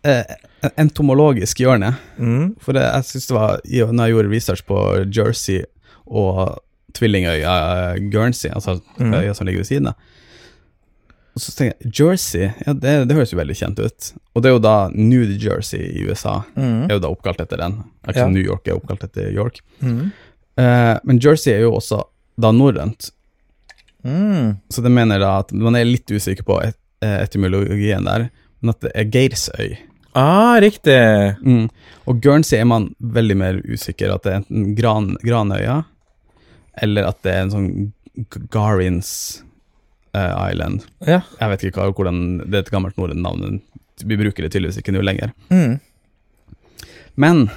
[SPEAKER 2] Eh, eh, entomologisk hjørne.
[SPEAKER 1] Mm.
[SPEAKER 2] For det, jeg synes det var, i- når jeg gjorde research på Jersey og tvillingøya eh, Guernsey, altså
[SPEAKER 1] Mm.
[SPEAKER 2] øya som ligger ved siden av, og så tenker jeg, Jersey, ja, det, det høres jo veldig kjent ut. Og det er jo da New Jersey i USA,
[SPEAKER 1] Mm.
[SPEAKER 2] er jo da oppkalt etter den.
[SPEAKER 1] Ja.
[SPEAKER 2] Akkurat som New York er oppkalt etter York.
[SPEAKER 1] Mm.
[SPEAKER 2] Eh, men Jersey er jo også da norrønt,
[SPEAKER 1] Mm.
[SPEAKER 2] så det mener da at man er litt usikker på et, eh, etymologien der, men at det er Geirsøy.
[SPEAKER 1] Ah, riktig.
[SPEAKER 2] Mm. Og Guernsey er man veldig mer usikker at det er enten gran, Granøya, eller at det er en sånn G- Garins eh, Island.
[SPEAKER 1] Ja.
[SPEAKER 2] Jeg vet ikke hva, hvordan Det er et gammelt norrønt navn. men Vi bruker det tydeligvis ikke nå lenger.
[SPEAKER 1] Mm.
[SPEAKER 2] Men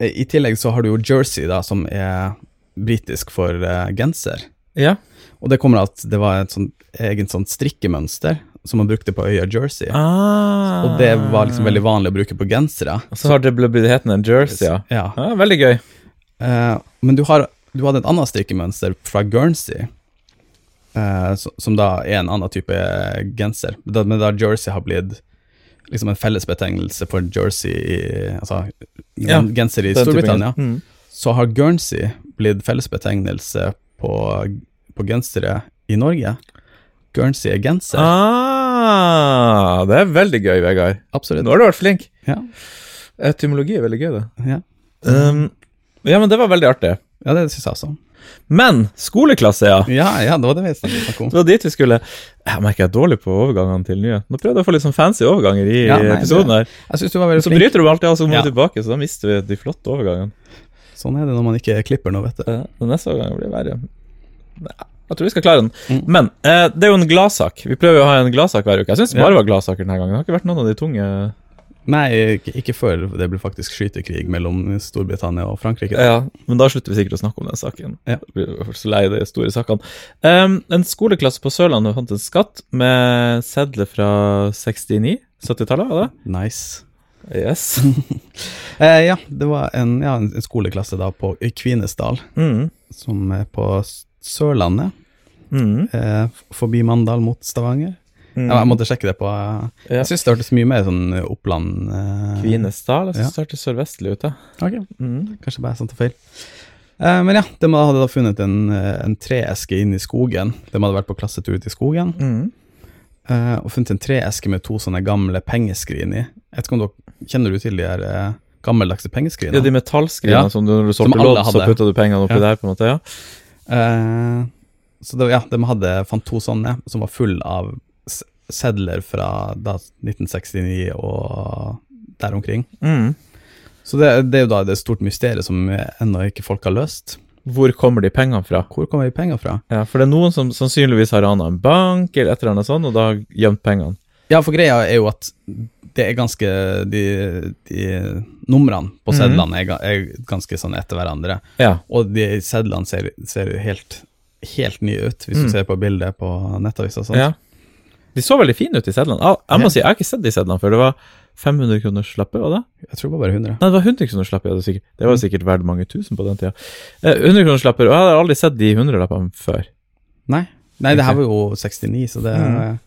[SPEAKER 2] eh, i tillegg så har du jo Jersey, da, som er britisk for eh, genser.
[SPEAKER 1] Ja.
[SPEAKER 2] Og det kommer av at det var et sånt, eget sånt strikkemønster som man brukte på øya Jersey.
[SPEAKER 1] Ah.
[SPEAKER 2] Og det var liksom veldig vanlig å bruke på gensere.
[SPEAKER 1] Så har det blitt hetende en jersey, ja.
[SPEAKER 2] Ja.
[SPEAKER 1] ja. Veldig gøy.
[SPEAKER 2] Eh, men du, har, du hadde et annet strikkemønster fra Guernsey, eh, som, som da er en annen type genser. Da, men da jersey har blitt liksom en fellesbetegnelse for jersey i, Altså gen,
[SPEAKER 1] Ja,
[SPEAKER 2] genser
[SPEAKER 1] Den
[SPEAKER 2] i
[SPEAKER 1] typen
[SPEAKER 2] Storbritannia,
[SPEAKER 1] gen- Mm.
[SPEAKER 2] så har Guernsey blitt fellesbetegnelse på, på gensere i Norge. Guernsey er genser.
[SPEAKER 1] Ah, det er veldig gøy, Vegard.
[SPEAKER 2] Absolutt.
[SPEAKER 1] Nå har du vært flink.
[SPEAKER 2] Ja,
[SPEAKER 1] Etymologi er veldig gøy, det.
[SPEAKER 2] ja.
[SPEAKER 1] Um, ja, men det var veldig artig.
[SPEAKER 2] ja, det syns jeg også.
[SPEAKER 1] Men skoleklasse, ja.
[SPEAKER 2] Ja, ja, det var det vi snakket om.
[SPEAKER 1] Det var dit vi skulle. Jeg merker jeg er dårlig på overgangene til nye. Nå prøvde jeg å få litt sånn fancy overganger i
[SPEAKER 2] Ja, nei,
[SPEAKER 1] episoden her.
[SPEAKER 2] Jeg syns du var veldig
[SPEAKER 1] Så
[SPEAKER 2] flink.
[SPEAKER 1] bryter du alltid av, så må
[SPEAKER 2] Ja.
[SPEAKER 1] du tilbake, så da mister vi de flotte overgangene.
[SPEAKER 2] Sånn er det når man ikke klipper noe, vet du.
[SPEAKER 1] Eh, Den neste overgangen blir verre. Nei, Jeg tror vi skal klare den.
[SPEAKER 2] Mm.
[SPEAKER 1] Men eh, det er jo en gladsak. Vi prøver jo å ha en gladsak hver uke. Jeg syns det bare var gladsaker denne gangen. Det har ikke vært noen av de tunge
[SPEAKER 2] Nei, ikke, ikke før det ble faktisk skytekrig mellom Storbritannia og Frankrike.
[SPEAKER 1] Ja, Men da slutter vi sikkert å snakke om den saken.
[SPEAKER 2] Ja.
[SPEAKER 1] Jeg blir så lei de store sakene. Em, en skoleklasse på Sørlandet fant en skatt med sedler fra 69? 70-tallet, var det?
[SPEAKER 2] Nice.
[SPEAKER 1] Yes.
[SPEAKER 2] Eh, ja, det var en, ja, en en skoleklasse da på i Kvinesdal,
[SPEAKER 1] Mm.
[SPEAKER 2] som er på S- Sørlandet,
[SPEAKER 1] Mm.
[SPEAKER 2] eh, f- forbi Mandal mot Stavanger.
[SPEAKER 1] Mm.
[SPEAKER 2] Ja, jeg måtte sjekke det på eh,
[SPEAKER 1] Ja.
[SPEAKER 2] Jeg syns det hørtes mye mer sånn Oppland eh,
[SPEAKER 1] Kvinesdal. Jeg
[SPEAKER 2] Ja.
[SPEAKER 1] syns det hørtes sørvestlig ut, jeg.
[SPEAKER 2] ok,
[SPEAKER 1] Mm.
[SPEAKER 2] Kanskje bare jeg som tar feil. Eh, men ja, de hadde da funnet en, eh, en treeske inne i skogen. De hadde vært på klassetur ut i skogen.
[SPEAKER 1] Mm.
[SPEAKER 2] eh, og funnet en treeske med to sånne gamle pengeskrin i. Jeg vet ikke om dere kjenner du til de her eh, gammeldagse pengeskrinene?
[SPEAKER 1] Ja, de metallskrinene
[SPEAKER 2] Ja.
[SPEAKER 1] som du, når du
[SPEAKER 2] Som
[SPEAKER 1] solgte
[SPEAKER 2] alle
[SPEAKER 1] lodd, så
[SPEAKER 2] hadde.
[SPEAKER 1] putta du pengene oppi
[SPEAKER 2] Ja.
[SPEAKER 1] der, på en måte? Ja.
[SPEAKER 2] Eh, så det, var- ja, de hadde, fant to sånne som var full av s- sedler fra da 1969 og der omkring.
[SPEAKER 1] Mm.
[SPEAKER 2] Så det, det er jo da det stort mysteriet som eh, ennå ikke folk har løst.
[SPEAKER 1] Hvor kommer de pengene fra?
[SPEAKER 2] Hvor kommer de pengene fra?
[SPEAKER 1] Ja, for det er noen som sannsynligvis har rana en bank eller et eller annet sånt, og da har gjemt pengene.
[SPEAKER 2] Ja, for greia er jo at det er ganske De, de numrene
[SPEAKER 1] Mhm.
[SPEAKER 2] på sedlene er, ga- er ganske sånn etter hverandre.
[SPEAKER 1] Ja.
[SPEAKER 2] Og de sedlene ser, ser jo helt, helt nye ut, hvis
[SPEAKER 1] Mm.
[SPEAKER 2] du ser på bildet på nettavisa. Sånn.
[SPEAKER 1] ja. De så veldig fine ut, de sedlene. Ah, Jeg må
[SPEAKER 2] Ja.
[SPEAKER 1] si, jeg har ikke sett de sedlene før. Det var 500 kroners slappe, var det?
[SPEAKER 2] Jeg tror det var bare 100.
[SPEAKER 1] Nei, det var 100 kroners slappe, ja, det, var sikkert. det var sikkert verdt mange tusen på den tida. Eh, 100 kroners slapper, og jeg har aldri sett de 100-lappene før.
[SPEAKER 2] Nei, Nei det her
[SPEAKER 1] Ikke.
[SPEAKER 2] var jo 69, så det
[SPEAKER 1] Mm.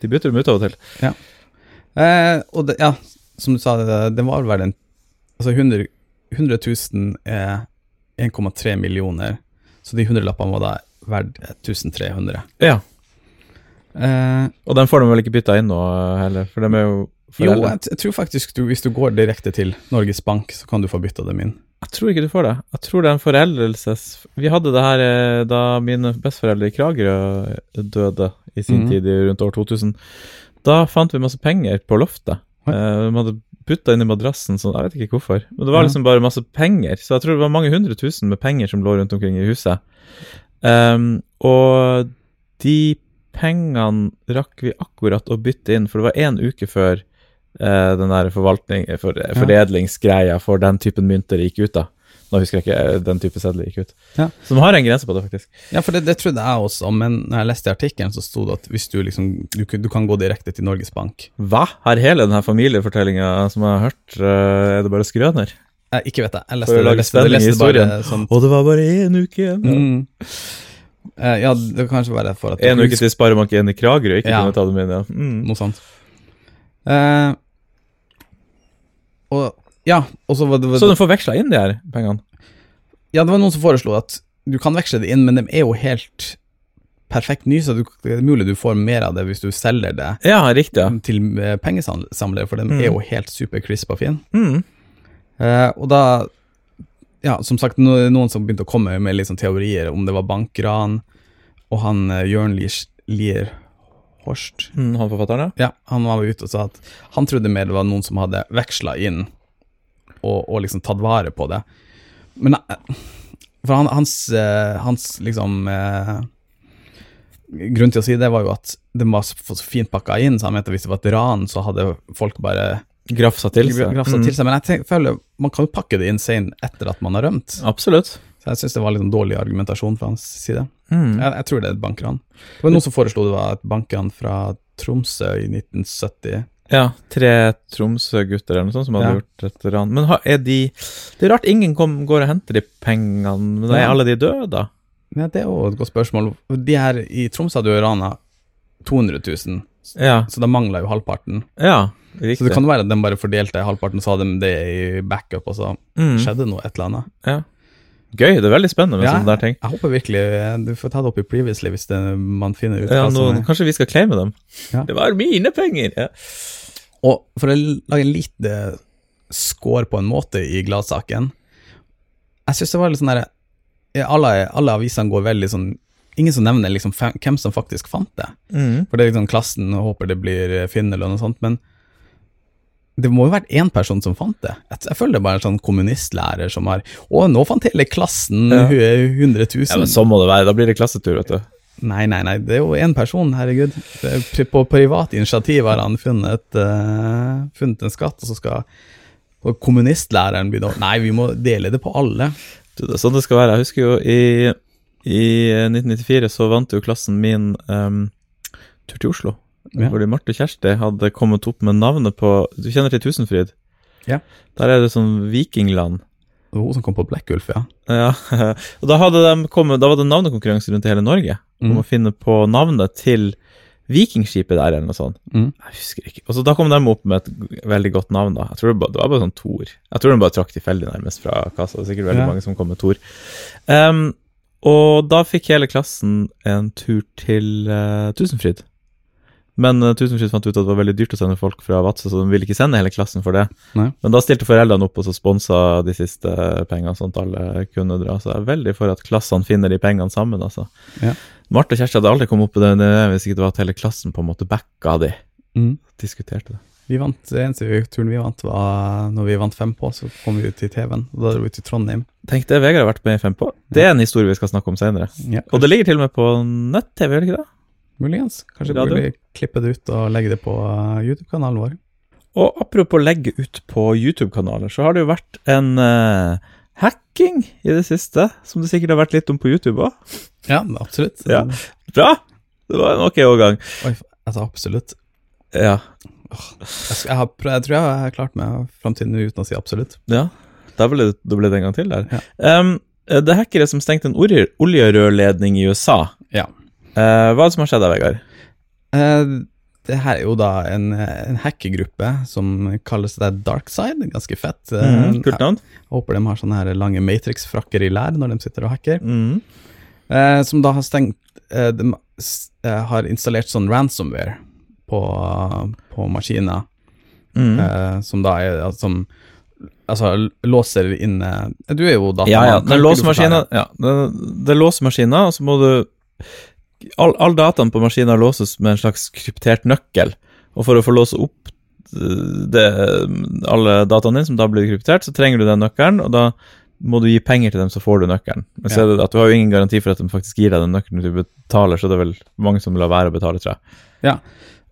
[SPEAKER 1] De bytter dem ut av og til.
[SPEAKER 2] Eh, og det, ja, som du sa, det, det var vel en Altså 100, 100 000 er 1,3 millioner, så de 100-lappene var da verdt 1300.
[SPEAKER 1] Ja,
[SPEAKER 2] Eh,
[SPEAKER 1] Og den får de vel ikke bytta inn nå eh, heller, for de er jo
[SPEAKER 2] jo,
[SPEAKER 1] foreldre.
[SPEAKER 2] jeg, t- jeg tror faktisk du, hvis du går direkte til Norges Bank, så kan du få bytta dem inn.
[SPEAKER 1] Jeg tror ikke du får det. Jeg tror det er en foreldelses... Vi hadde det her eh, da mine besteforeldre i Kragerø eh, døde i sin
[SPEAKER 2] Mhm.
[SPEAKER 1] tid, i rundt år 2000. Da fant vi masse penger på loftet.
[SPEAKER 2] Oi.
[SPEAKER 1] Eh, De hadde putta inn i madrassen, sånn, jeg vet ikke hvorfor. Men det var
[SPEAKER 2] Ja.
[SPEAKER 1] liksom bare masse penger. Så jeg tror det var mange hundre tusen med penger som lå rundt omkring i huset. Ehm, og de pengene rakk vi akkurat å bytte inn, for det var én uke før eh, den der forvaltning, for, eh, foredlingsgreia for den typen mynter gikk ut, da. Nå husker jeg ikke eh, den type sedler gikk ut.
[SPEAKER 2] Ja.
[SPEAKER 1] Så de har en grense på det, faktisk.
[SPEAKER 2] Ja, for det, det trodde jeg også, men når jeg leste i artikkelen, så sto det at hvis du liksom du, kan- du kan gå direkte til Norges Bank.
[SPEAKER 1] Hva? Har hele denne familiefortellinga som jeg har hørt, eh, er det bare skrøner?
[SPEAKER 2] Jeg, ikke vet jeg.
[SPEAKER 1] For
[SPEAKER 2] Jeg leste,
[SPEAKER 1] å
[SPEAKER 2] det-
[SPEAKER 1] lage
[SPEAKER 2] jeg leste, det- jeg
[SPEAKER 1] spenning i
[SPEAKER 2] leste bare sånn
[SPEAKER 1] Og det var bare én uke igjen!
[SPEAKER 2] mm. Eh, Ja, det kan kanskje være for at
[SPEAKER 1] En uke til Sparebank1 i Kragerø ikke
[SPEAKER 2] Ja.
[SPEAKER 1] kunne ta dem inn, ja. Mm.
[SPEAKER 2] Noe sånt. Eh, og ja, og så var det,
[SPEAKER 1] Så de får veksla inn de her pengene?
[SPEAKER 2] ja, det var noen som foreslo at du kan veksle det inn, men de er jo helt perfekt nye, så du, det er mulig du får mer av det hvis du selger det
[SPEAKER 1] Ja, riktig. ja.
[SPEAKER 2] til eh, pengesamlere, for de
[SPEAKER 1] Mm.
[SPEAKER 2] er jo helt supercrisp og fine.
[SPEAKER 1] Mm.
[SPEAKER 2] Eh, og da Ja, som sagt, no, noen som begynte å komme med litt sånn teorier om det var bankran, og han eh, Jørn Lier, Lier Horst
[SPEAKER 1] Mm, han forfatteren, ja.
[SPEAKER 2] Ja, han var ute og sa at han trodde mer det var noen som hadde veksla inn og, og liksom tatt vare på det. Men jeg- for han, hans, eh, hans liksom eh, Grunnen til å si det var jo at det var så så fint pakka inn, så han mente hvis det var et ran, så hadde folk bare
[SPEAKER 1] Grafsa til seg.
[SPEAKER 2] grafsa
[SPEAKER 1] Mm.
[SPEAKER 2] til seg. Men jeg tenk- føler man kan jo pakke det inn sen etter at man har rømt.
[SPEAKER 1] Mm. Absolutt.
[SPEAKER 2] Så jeg syns det var liksom dårlig argumentasjon fra hans side.
[SPEAKER 1] Mm.
[SPEAKER 2] Jeg, jeg tror det er et bankran. Det var noen som foreslo det var et bankran fra Tromsø i 1970.
[SPEAKER 1] Ja, tre Tromsø-gutter eller noe sånt som hadde
[SPEAKER 2] Ja.
[SPEAKER 1] gjort et ran. Men har- er de Det er rart ingen kom, går og henter de pengene, men da er
[SPEAKER 2] Ja.
[SPEAKER 1] alle de døde, da?
[SPEAKER 2] Ja, det er jo et godt spørsmål. De her i Troms hadde jo rana 200 000,
[SPEAKER 1] Ja,
[SPEAKER 2] så de mangla jo halvparten.
[SPEAKER 1] ja riktig.
[SPEAKER 2] Så det kan jo være at de bare fordelte halvparten, så hadde de det i backup, og så
[SPEAKER 1] mm.
[SPEAKER 2] skjedde noe et eller annet.
[SPEAKER 1] Gøy, det er veldig spennende med
[SPEAKER 2] Ja,
[SPEAKER 1] sånne der ting.
[SPEAKER 2] Jeg håper virkelig eh, Du får ta det opp i previously hvis det, man finner ut
[SPEAKER 1] Ja,
[SPEAKER 2] hva som
[SPEAKER 1] nå,
[SPEAKER 2] er
[SPEAKER 1] kanskje vi skal claime dem?
[SPEAKER 2] Ja.
[SPEAKER 1] Det var mine penger! Ja.
[SPEAKER 2] Og for å lage en lite score på en måte i gladsaken Jeg syns det var litt sånn derre ja, alle, alle avisene går veldig sånn Ingen som nevner liksom fe- hvem som faktisk fant det.
[SPEAKER 1] Mm.
[SPEAKER 2] For det er liksom klassen og håper det blir eh, Finn eller noe sånt, men det må jo vært én person som fant det. Jeg, jeg føler det er bare en sånn kommunistlærer som har Å, nå fant hele klassen
[SPEAKER 1] Ja.
[SPEAKER 2] hu- 100 000.
[SPEAKER 1] ja, men Sånn må det være. Da blir det klassetur, vet du.
[SPEAKER 2] Nei, nei, nei, det er jo én person, herregud. Det er pri- På privat initiativ har han funnet, eh, funnet en skatt, og så skal og kommunistlæreren begynne å Nei, vi må dele det på alle.
[SPEAKER 1] Du, det er sånn det skal være. Jeg husker jo i, i 1994 så vant jo klassen min em, tur til Oslo.
[SPEAKER 2] Ja.
[SPEAKER 1] Fordi Marte Kjersti hadde kommet opp med navnet på Du kjenner til Tusenfryd?
[SPEAKER 2] Ja.
[SPEAKER 1] Der er det sånn vikingland.
[SPEAKER 2] Det var hun som kom på Blekkulf, ja.
[SPEAKER 1] Ja, og da, hadde de kommet, da var det navnekonkurranse rundt i hele Norge om
[SPEAKER 2] Mm.
[SPEAKER 1] å finne på navnet til vikingskipet der, eller noe sånt.
[SPEAKER 2] Mm.
[SPEAKER 1] Jeg husker ikke. Og så Da kom de opp med et g- veldig godt navn. da. Jeg tror Det, ba, det var bare sånn Thor. Jeg tror de bare trakk tilfeldig nærmest fra kassa. Det er sikkert veldig
[SPEAKER 2] Ja.
[SPEAKER 1] mange som kom med Thor. Em, og da fikk hele klassen en tur til eh, Tusenfryd. Men eh, Tusenfryd fant ut at det var veldig dyrt å sende folk fra Vadsø, så de ville ikke sende hele klassen for det.
[SPEAKER 2] Nei.
[SPEAKER 1] Men da stilte foreldrene opp og så sponsa de siste pengene, sånn at alle kunne dra. Så jeg er veldig for at klassene finner de pengene sammen, altså.
[SPEAKER 2] Ja.
[SPEAKER 1] Marte og Kjersti hadde aldri kommet opp i det det- hvis ikke det var at hele klassen på en måte backa de.
[SPEAKER 2] Mm.
[SPEAKER 1] Diskuterte det.
[SPEAKER 2] Vi vant, det eneste turen vi vant, var når vi vant fem på, så kom vi ut til TV-en. Og da dro vi til Trondheim.
[SPEAKER 1] Tenk det, Vegard har vært med i Fem på. Det er en historie vi skal snakke om senere.
[SPEAKER 2] Ja,
[SPEAKER 1] Og det ligger til og med på nett-TV, gjør det ikke det?
[SPEAKER 2] Muligens. Kanskje
[SPEAKER 1] Radio?
[SPEAKER 2] burde vi klippe det ut og legge det på eh, YouTube-kanalen vår.
[SPEAKER 1] Og apropos legge ut på YouTube-kanaler, så har det jo vært en eh, hacking i det siste, som det sikkert har vært litt om på YouTube òg.
[SPEAKER 2] Ja, absolutt.
[SPEAKER 1] Ja. Bra! Det var en ok overgang.
[SPEAKER 2] Oi, altså, absolutt.
[SPEAKER 1] Ja.
[SPEAKER 2] Jeg, sk- jeg, har prøvd, jeg tror jeg har klart meg fram til nå uten å si absolutt.
[SPEAKER 1] ja. Da ble det, da ble det en gang til der. Em, eh, det er hackere som stengte en olje, oljerørledning i USA.
[SPEAKER 2] Ja.
[SPEAKER 1] Eh, hva er det som har skjedd der, Vegard?
[SPEAKER 2] Eh, det her er jo da en, en hackegruppe som kalles det Darkside. Ganske fett.
[SPEAKER 1] Mm,
[SPEAKER 2] Eh,
[SPEAKER 1] kult navn.
[SPEAKER 2] Jeg håper de har sånne her lange Matrix-frakker i lær når de sitter og hacker.
[SPEAKER 1] Mm.
[SPEAKER 2] Eh, som da har stengt eh, De s- eh, har installert sånn ransomware på, på maskiner,
[SPEAKER 1] Mm.
[SPEAKER 2] eh, som da er altså, som, altså l- låser inne Du er jo datamann.
[SPEAKER 1] Ja, ja.
[SPEAKER 2] kan
[SPEAKER 1] Det er
[SPEAKER 2] ikke du forklare?
[SPEAKER 1] låsemaskiner, ja, det, det er låsemaskiner, og så må du All, all dataen på maskiner låses med en slags kryptert nøkkel, og for å få låse opp eh, det, alle dataene dine, som da blir kryptert, så trenger du den nøkkelen, og da må du gi penger til dem, så får du nøkkelen. Men så
[SPEAKER 2] Ja.
[SPEAKER 1] er det at du har jo ingen garanti for at de faktisk gir deg den nøkkelen du betaler, så det er vel mange som lar være å betale, tror jeg.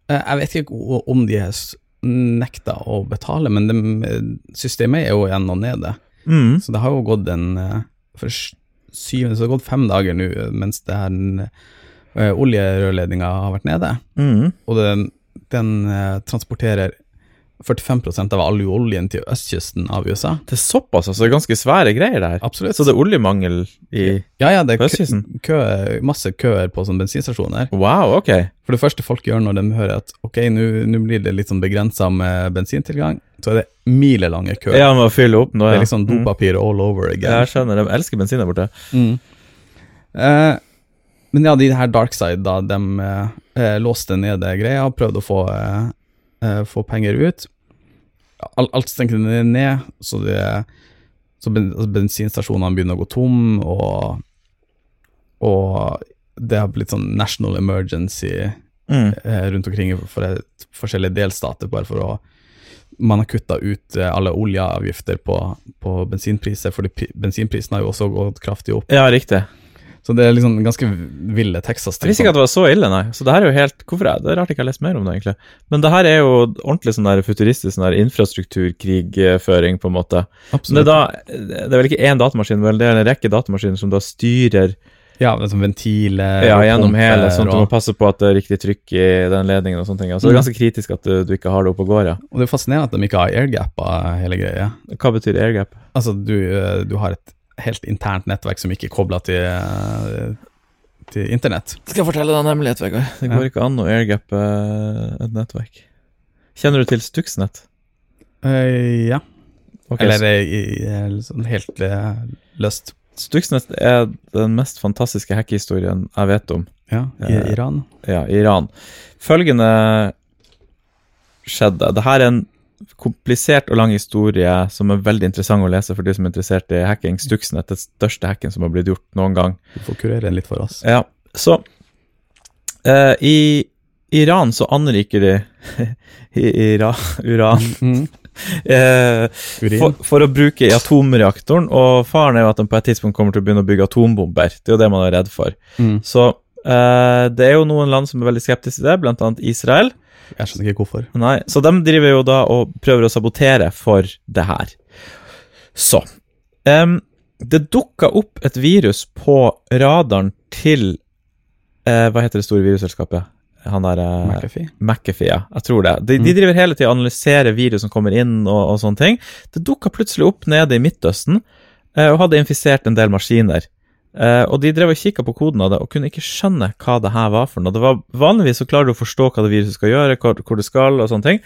[SPEAKER 2] Eh, Jeg vet ikke o- om de er s- nekta å betale, men de, systemet er jo igjen og nede.
[SPEAKER 1] Mm.
[SPEAKER 2] Så det har jo gått en eh, For s- syvende så har det gått fem dager nå eh, mens det her uh, oljerørledninga har vært nede.
[SPEAKER 1] Mm.
[SPEAKER 2] Og den, den eh, transporterer 45 av all oljen til østkysten av USA.
[SPEAKER 1] Det er såpass, altså. Det er ganske svære greier, det her.
[SPEAKER 2] Absolutt.
[SPEAKER 1] Så det er oljemangel i
[SPEAKER 2] ja, ja, det er kø,
[SPEAKER 1] østkysten?
[SPEAKER 2] kø- masse køer på sånne bensinstasjoner.
[SPEAKER 1] Wow, ok.
[SPEAKER 2] For det første folk gjør når de hører at ok, nå nå blir det litt sånn begrensa med bensintilgang, så er det milelange køer.
[SPEAKER 1] Ja, må fylle opp nå,
[SPEAKER 2] Det
[SPEAKER 1] ja.
[SPEAKER 2] er liksom
[SPEAKER 1] Mm.
[SPEAKER 2] dopapir all over again.
[SPEAKER 1] Ja, jeg skjønner. De elsker bensin der borte.
[SPEAKER 2] Mm. Eh, men ja, de her Darkside, da, de eh, eh, låste nede greia, prøvde å få, eh, eh, få penger ut. Al alt stengte ned, ned, så, det, så ben altså bensinstasjonene begynner å gå tom, og, og det har blitt sånn national emergency eh, rundt omkring i for forskjellige delstater, bare for å Man har kutta ut eh, alle oljeavgifter på, på bensinpriser, fordi pri- bensinprisen har jo også gått kraftig opp.
[SPEAKER 1] Ja, riktig.
[SPEAKER 2] Så det er liksom ganske ville Texas
[SPEAKER 1] Jeg visste ikke at det var så ille, nei. Så det her er jo helt Hvorfor er det? det er rart jeg ikke har lest mer om det, egentlig. Men det her er jo ordentlig sånn der futuristisk sånn der infrastrukturkrigføring, på en måte. Men det er
[SPEAKER 2] Absolutt.
[SPEAKER 1] da Det er vel ikke én datamaskin, vel, det er en rekke datamaskiner som da styrer
[SPEAKER 2] Ja, det er sånn ventiler
[SPEAKER 1] ja,
[SPEAKER 2] og
[SPEAKER 1] gjennom
[SPEAKER 2] pumper
[SPEAKER 1] hele, sånn at du må
[SPEAKER 2] og,
[SPEAKER 1] passe på at det er riktig trykk i den ledningen og sånne ting. Altså, det er ganske kritisk at du, du ikke har det oppe og går, ja.
[SPEAKER 2] og det er fascinerende at de ikke har airgappa hele greia.
[SPEAKER 1] Hva betyr airgap?
[SPEAKER 2] Altså, du, eh, du har et helt internt nettverk som ikke er kobla til, eh, til internett.
[SPEAKER 1] Skal jeg fortelle deg en hemmelighet, Vegard? Det går ikke an å airgappe et nettverk. Kjenner du til Stuxnet?
[SPEAKER 2] Eh, ja.
[SPEAKER 1] Ok,
[SPEAKER 2] Eller eh, i- eh, sånn helt eh, løst.
[SPEAKER 1] Stuxnet er den mest fantastiske hackehistorien jeg vet om.
[SPEAKER 2] Ja, i
[SPEAKER 1] Eh,
[SPEAKER 2] Iran.
[SPEAKER 1] Ja, i Iran. Følgende skjedde. Dette er en komplisert og lang historie som er veldig interessant å lese for de som er interessert i hacking. Stuxnet er den største hacken som har blitt gjort noen gang.
[SPEAKER 2] Du får kurere den litt for oss.
[SPEAKER 1] Ja, så eh, I Iran så anriker de i, Ira, uran eh,
[SPEAKER 2] Urin.
[SPEAKER 1] for, for å bruke i atomreaktoren, og faren er jo at de på et tidspunkt kommer til å begynne å bygge atombomber. Det er jo det man er redd for.
[SPEAKER 2] Mm.
[SPEAKER 1] Så eh, det er jo noen land som er veldig skeptiske til det, blant annet Israel.
[SPEAKER 2] Jeg skjønner ikke hvorfor.
[SPEAKER 1] Nei, så de driver jo da og prøver å sabotere for det her. Så em, Det dukka opp et virus på radaren til eh, Hva heter det store virusselskapet? Han der eh,
[SPEAKER 2] McAfee.
[SPEAKER 1] McAfee, ja. Jeg tror det. De, de
[SPEAKER 2] Mm.
[SPEAKER 1] driver hele tida og analyserer virus som kommer inn og, og sånne ting. Det dukka plutselig opp nede i Midtøsten eh, og hadde infisert en del maskiner. Eh, og de drev og kikka på koden av det og kunne ikke skjønne hva det her var for noe. Det var Vanligvis så klarer du å forstå hva det viruset skal gjøre, hvor, hvor det skal og sånne ting.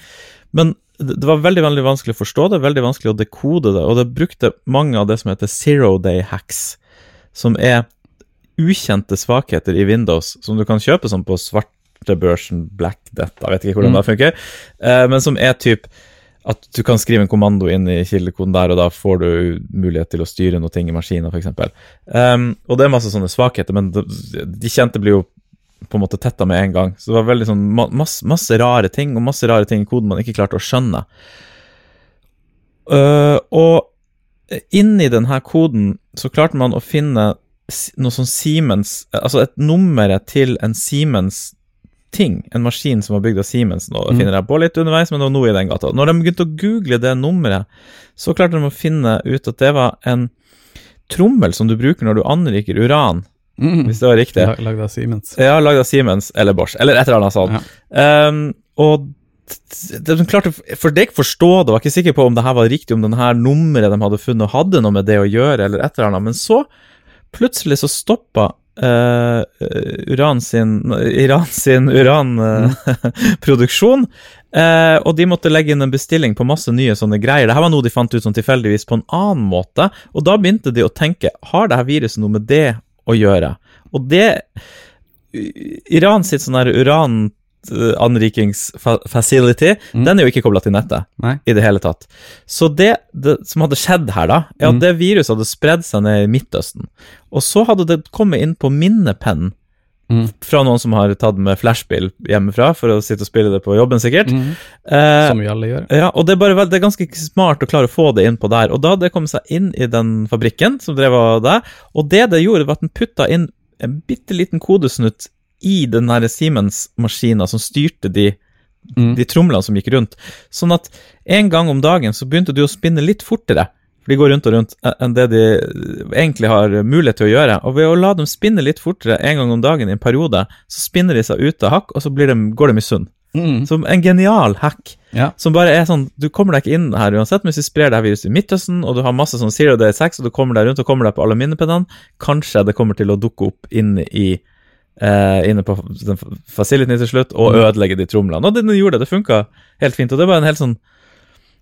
[SPEAKER 1] Men det det var veldig veldig vanskelig å forstå det, veldig vanskelig å dekode det, og det brukte mange av det som heter zero day hacks, som er ukjente svakheter i Windows, som du kan kjøpe sånn på svartebørsen Black Death, jeg vet ikke hvordan det funker, eh, men som er typ at du kan skrive en kommando inn i kildekoden der, og da får du mulighet til å styre noe ting i maskiner, f.eks. Um, og det er masse sånne svakheter, men de, de kjente blir jo på en måte tetta med en gang. Så det var veldig sånn ma- masse, masse rare ting, og masse rare ting i koden man ikke klarte å skjønne. Uh, og inni denne koden så klarte man å finne s- noe sånn Siemens Altså et nummeret til en Siemens ting, en maskin som var bygd av Siemens. Nå
[SPEAKER 2] Mm.
[SPEAKER 1] finner jeg på litt underveis, men det var noe i den gata. Når de begynte å google det nummeret, så klarte de å finne ut at det var en trommel som du bruker når du anriker uran,
[SPEAKER 2] Mm.
[SPEAKER 1] hvis det var riktig.
[SPEAKER 2] Lag- Lagd av Siemens.
[SPEAKER 1] Ja, lagd av Siemens eller Bosch, eller et eller annet sånt. Ehm, og t- de som klarte, for det jeg ikke forstå det, var ikke sikker på om det her var riktig, om den her nummeret de hadde funnet, hadde noe med det å gjøre, eller et eller annet, men så plutselig så stoppa eh, uran sin, Iran sin uranproduksjon. eh, og de måtte legge inn en bestilling på masse nye sånne greier. Dette var noe de fant ut sånn tilfeldigvis på en annen måte. Og da begynte de å tenke har dette viruset noe med det å gjøre. Og det Iran sitt sånn her urananrikingsfacility, den er jo ikke kobla til nettet
[SPEAKER 2] Nei.
[SPEAKER 1] i det hele tatt. Så det, det som hadde skjedd her, da, er at
[SPEAKER 2] Mm.
[SPEAKER 1] det viruset hadde spredd seg ned i Midtøsten. Og så hadde det kommet inn på minnepennen
[SPEAKER 2] Mm.
[SPEAKER 1] fra noen som har tatt med flashbill hjemmefra for å sitte og spille det på jobben, sikkert.
[SPEAKER 2] Mhm.
[SPEAKER 1] Eh,
[SPEAKER 2] Som vi alle gjør.
[SPEAKER 1] ja, og det er, bare, vel- det er ganske smart å klare å få det inn på der. Og da hadde det kommet seg inn i den fabrikken som drev av det, og det det gjorde, var at den putta inn en bitte liten kodesnutt i den her Siemens-maskina som styrte de,
[SPEAKER 2] Mm.
[SPEAKER 1] de tromlene som gikk rundt. Sånn at en gang om dagen så begynte du å spinne litt fortere. For de går rundt og rundt eh, enn det de eh, egentlig har mulighet til å gjøre. Og ved å la dem spinne litt fortere en gang om dagen i en periode, så spinner de seg ut av hakk, og så blir de, går de i sund.
[SPEAKER 2] Mhm.
[SPEAKER 1] Som en genial hack.
[SPEAKER 2] Ja.
[SPEAKER 1] Som bare er sånn, Du kommer deg ikke inn her uansett, men hvis du sprer det her viruset i Midtøsten, og du har masse sånn zero day sex, og du kommer deg rundt og kommer deg på alle minnepennene, kanskje det kommer til å dukke opp inne i eh, inne på den f- facilityen til slutt og ødelegge de tromlene. Og det den gjorde det. Det funka helt fint. Og det var en helt sånn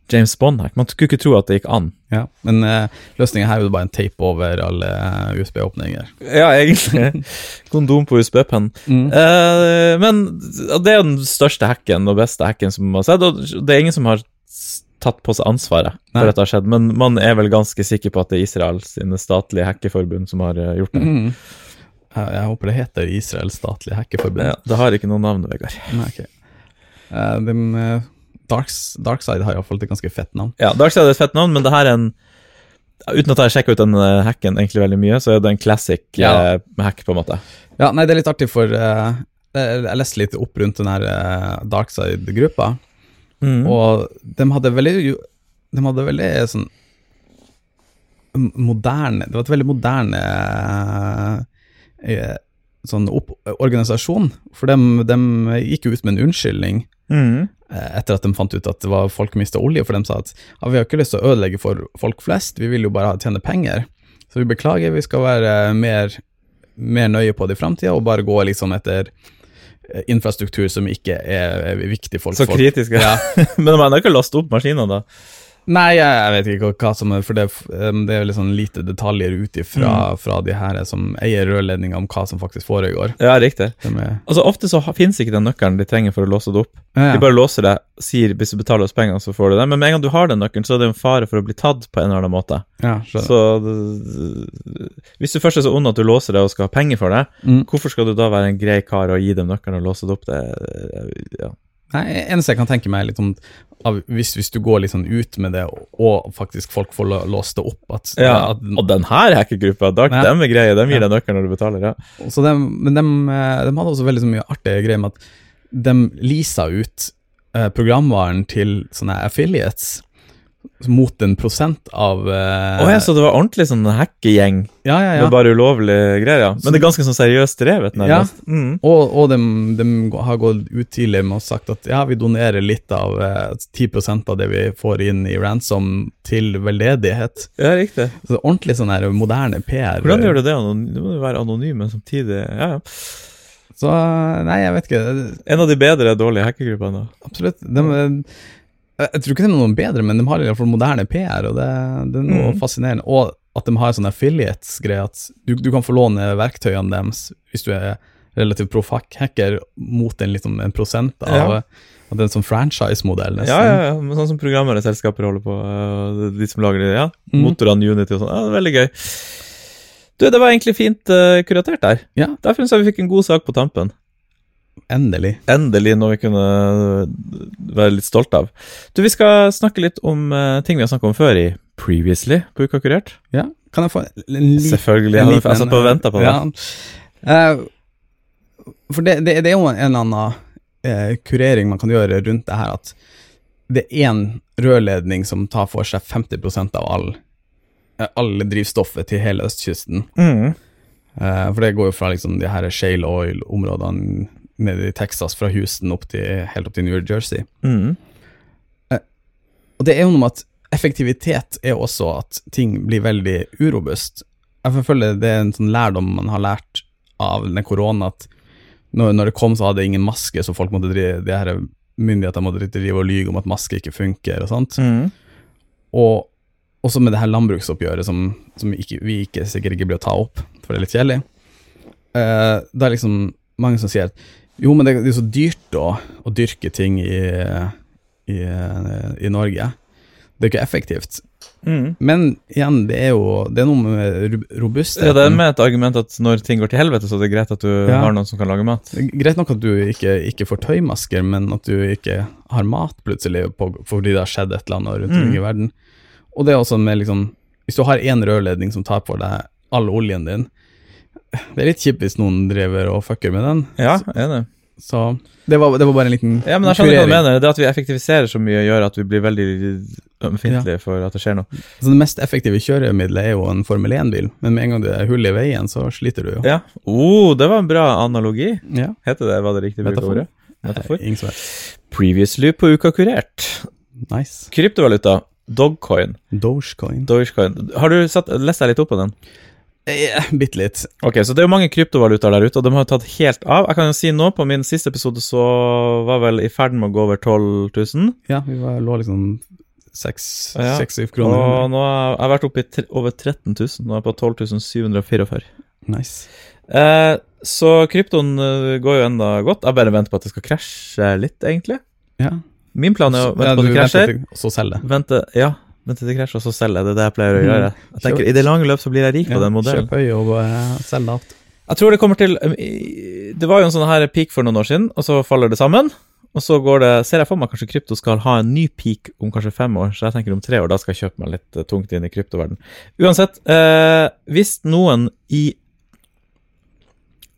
[SPEAKER 1] James Bond-hack. Man skulle ikke tro at det gikk an.
[SPEAKER 2] Ja. Men eh, løsningen her er jo bare en teip over alle eh, USB-åpninger.
[SPEAKER 1] Ja, egentlig. Kondom på USB-pennen.
[SPEAKER 2] Mm.
[SPEAKER 1] Eh, men det er jo den største hacken og beste hacken som har sett, og det er ingen som har s- tatt på seg ansvaret
[SPEAKER 2] Nei.
[SPEAKER 1] for at det har skjedd, men man er vel ganske sikker på at det er Israel sine statlige hackeforbund som har eh, gjort det.
[SPEAKER 2] Mhm. Jeg, jeg håper det heter Israels statlige hackerforbund.
[SPEAKER 1] Ja, det har ikke noe navn, Vegard.
[SPEAKER 2] Nei, ok. Eh, dem, eh, Darks, Darkside har iallfall et ganske fett navn.
[SPEAKER 1] Ja, Dark Side er et fett navn, men det her er en Uten at jeg har sjekka ut den eh, hacken egentlig veldig mye, så er det en classic
[SPEAKER 2] Ja.
[SPEAKER 1] eh, hack, på en måte.
[SPEAKER 2] Ja, nei, det er litt artig, for eh, jeg jeg leste litt opp rundt den her eh, Darkside-gruppa,
[SPEAKER 1] Mm.
[SPEAKER 2] og de hadde veldig jo- De hadde veldig sånn m- moderne Det var et veldig moderne eh, eh, sånn opp, organisasjon, for de, gikk jo ut med en unnskyldning.
[SPEAKER 1] Mm.
[SPEAKER 2] eh, etter at de fant ut at det var folk mista olje, for de sa at ja, vi har ikke lyst til å ødelegge for folk flest, vi vil jo bare ha- tjene penger. Så vi beklager, vi skal være mer, mer nøye på det i framtida og bare gå liksom etter eh, infrastruktur som ikke er er viktig for
[SPEAKER 1] Så
[SPEAKER 2] folk.
[SPEAKER 1] kritisk.
[SPEAKER 2] Ja.
[SPEAKER 1] men man har ikke lasta opp maskinene, da.
[SPEAKER 2] Nei, jeg, jeg vet ikke hva som er For det, um, det er veldig sånn lite detaljer ut ifra
[SPEAKER 1] Mm.
[SPEAKER 2] fra de her som eier rørledninga, om hva som faktisk foregår.
[SPEAKER 1] Ja, riktig.
[SPEAKER 2] De er,
[SPEAKER 1] Altså, Ofte så ha- finnes ikke den nøkkelen de trenger for å låse det opp.
[SPEAKER 2] ja,
[SPEAKER 1] De
[SPEAKER 2] ja.
[SPEAKER 1] bare låser deg, sier hvis du betaler oss penger, så får du det. Men med en gang du har den nøkkelen, så er det en fare for å bli tatt på en eller annen måte.
[SPEAKER 2] ja, skjønner.
[SPEAKER 1] Så det- hvis du først er så ond at du låser deg og skal ha penger for det,
[SPEAKER 2] Mm.
[SPEAKER 1] hvorfor skal du da være en grei kar og gi dem nøkkelen og låse det opp? Det, ja.
[SPEAKER 2] Nei, eneste jeg kan tenke meg er litt om av, hvis, hvis du går litt sånn ut med det, og, og faktisk folk får lå- låst det opp at,
[SPEAKER 1] Ja,
[SPEAKER 2] at,
[SPEAKER 1] Og den her hackergruppa, Dark,
[SPEAKER 2] Ja.
[SPEAKER 1] dem er greie. Dem gir deg nøkkelen når du betaler, ja.
[SPEAKER 2] så dem, Men de, hadde også veldig så mye artige greier med at de leasa ut eh, programvaren til sånne affiliates mot en prosent av eh,
[SPEAKER 1] Å ja, så det var ordentlig sånn hackegjeng
[SPEAKER 2] ja, ja, ja.
[SPEAKER 1] med bare ulovlige greier, ja. Men det er ganske sånn seriøst drevet, nærmest. Mm.
[SPEAKER 2] Og, og de, har gått ut tidlig med og sagt at ja, vi donerer litt av eh, 10 av det vi får inn i ransom til veldedighet.
[SPEAKER 1] Ja, riktig.
[SPEAKER 2] Så det er ordentlig sånn her moderne PR.
[SPEAKER 1] Hvordan gjør du det? anon- Du må jo være anonym, men samtidig ja, ja.
[SPEAKER 2] Så nei, jeg vet ikke. Det-
[SPEAKER 1] En av de bedre dårlige hackergruppene. da.
[SPEAKER 2] Absolutt. De, jeg jeg tror ikke de er noen bedre, men de har i hvert fall moderne PR, og det, det er noe
[SPEAKER 1] Mm.
[SPEAKER 2] fascinerende. Og at de har en sånn affiliates-greie at du, du kan få låne verktøyene deres hvis du er relativt proff hack- hacker mot en, liksom, en prosent av
[SPEAKER 1] Ja.
[SPEAKER 2] at det er en sånn franchise-modell, nesten.
[SPEAKER 1] Ja, ja, ja. men Sånn som programmer og selskaper holder på. eh, og De som lager det, ja.
[SPEAKER 2] Mm.
[SPEAKER 1] Motorene, Unity og sånn. Ja, det er veldig gøy. Du, det var egentlig fint eh, kuratert der.
[SPEAKER 2] Ja.
[SPEAKER 1] Der syns jeg vi fikk en god sak på tampen.
[SPEAKER 2] Endelig.
[SPEAKER 1] Endelig noe vi kunne eh, være litt stolte av. Du, vi skal snakke litt om eh, ting vi har snakket om før i Previously på Uka kurert.
[SPEAKER 2] Ja. Kan jeg få en, en liten
[SPEAKER 1] Selvfølgelig. Jeg,
[SPEAKER 2] En
[SPEAKER 1] hadde-
[SPEAKER 2] liten-
[SPEAKER 1] jeg satt på og venta på det.
[SPEAKER 2] Ja. Eh, for det, det, det er jo en eller annen eh, kurering man kan gjøre rundt det her, at det er én rørledning som tar for seg 50 av all, eh, all drivstoffet til hele østkysten.
[SPEAKER 1] Mm.
[SPEAKER 2] Eh, for det går jo fra liksom de her shale oil-områdene nede i Texas, fra Houston opp til, helt opp til New Jersey.
[SPEAKER 1] Mm.
[SPEAKER 2] Og det er jo noe med at effektivitet er også at ting blir veldig urobust. Jeg føler det er en sånn lærdom man har lært av den korona at når, når det kom, så hadde ingen maske, så folk måtte drive, de her myndighetene måtte drive og lyge om at maske ikke funker og sånt.
[SPEAKER 1] Mm.
[SPEAKER 2] Og også med det her landbruksoppgjøret som, som ikke, vi ikke, sikkert ikke blir å ta opp, for det er litt kjedelig. Eh, det er liksom mange som sier at jo, men det, det er så dyrt å, å dyrke ting i, i, i Norge. Det er ikke effektivt.
[SPEAKER 1] Mm.
[SPEAKER 2] Men igjen, det er jo det er noe med ru- robustheten.
[SPEAKER 1] Ja, det er med et argument at når ting går til helvete, så er det greit at du
[SPEAKER 2] Ja.
[SPEAKER 1] har noen som kan lage mat.
[SPEAKER 2] Det er Greit nok at du ikke, ikke får tøymasker, men at du ikke har mat plutselig på, fordi det har skjedd et eller annet rundt omkring i verden. Og det er også med liksom Hvis du har én rørledning som tar for deg all oljen din Det er litt kjipt hvis noen driver og fucker med den.
[SPEAKER 1] Ja, er det.
[SPEAKER 2] Så det var, det var bare en liten
[SPEAKER 1] Ja, men jeg skjønner hva du mener. Det at vi effektiviserer så mye, gjør at vi blir veldig ømfintlige for at det skjer noe.
[SPEAKER 2] Så det mest effektive kjøremiddelet er jo en Formel 1-bil, men med en gang det er hull i veien, så sliter du jo.
[SPEAKER 1] Ja. Oh, det var en bra analogi.
[SPEAKER 2] Ja.
[SPEAKER 1] Heter det var det riktige bruk av
[SPEAKER 2] Metafor.
[SPEAKER 1] ordet? Metafor.
[SPEAKER 2] Ingen som vet.
[SPEAKER 1] Previously på Uka kurert.
[SPEAKER 2] Nice.
[SPEAKER 1] Kryptovaluta. Dogcoin.
[SPEAKER 2] Dogecoin.
[SPEAKER 1] Dogecoin. Har du sett, lest deg litt opp på den?
[SPEAKER 2] Eh, Bitte litt.
[SPEAKER 1] Ok, så Det er jo mange kryptovalutaer der ute, og de har jo tatt helt av. Jeg kan jo si nå, på min siste episode så var jeg vel i ferd med å gå over 12 000.
[SPEAKER 2] Ja, vi var, lå liksom seks-
[SPEAKER 1] Ja.
[SPEAKER 2] seks-syv kroner.
[SPEAKER 1] Og nå har jeg- jeg har vært oppe i tre, over 13 000. Nå er jeg på 12 744.
[SPEAKER 2] Nice.
[SPEAKER 1] Eh, så kryptoen eh, går jo enda godt. Jeg bare venter på at det skal krasje litt, egentlig.
[SPEAKER 2] Ja.
[SPEAKER 1] Min plan er å vente på at det krasjer.
[SPEAKER 2] og så selge.
[SPEAKER 1] Vente, ja, vente til det krasjer, og så selge. Det er det jeg pleier å gjøre. Jeg tenker, I det lange løp så blir jeg rik på den modellen.
[SPEAKER 2] Kjøp høy og eh, selg lavt.
[SPEAKER 1] Jeg tror det kommer til um, i- Det var jo en sånn her peak for noen år siden, og så faller det sammen. Og så går det, ser jeg for meg kanskje krypto skal ha en ny peak om kanskje fem år, så jeg tenker om tre år, da skal jeg kjøpe meg litt eh, tungt inn i kryptoverden. Uansett, eh, hvis noen i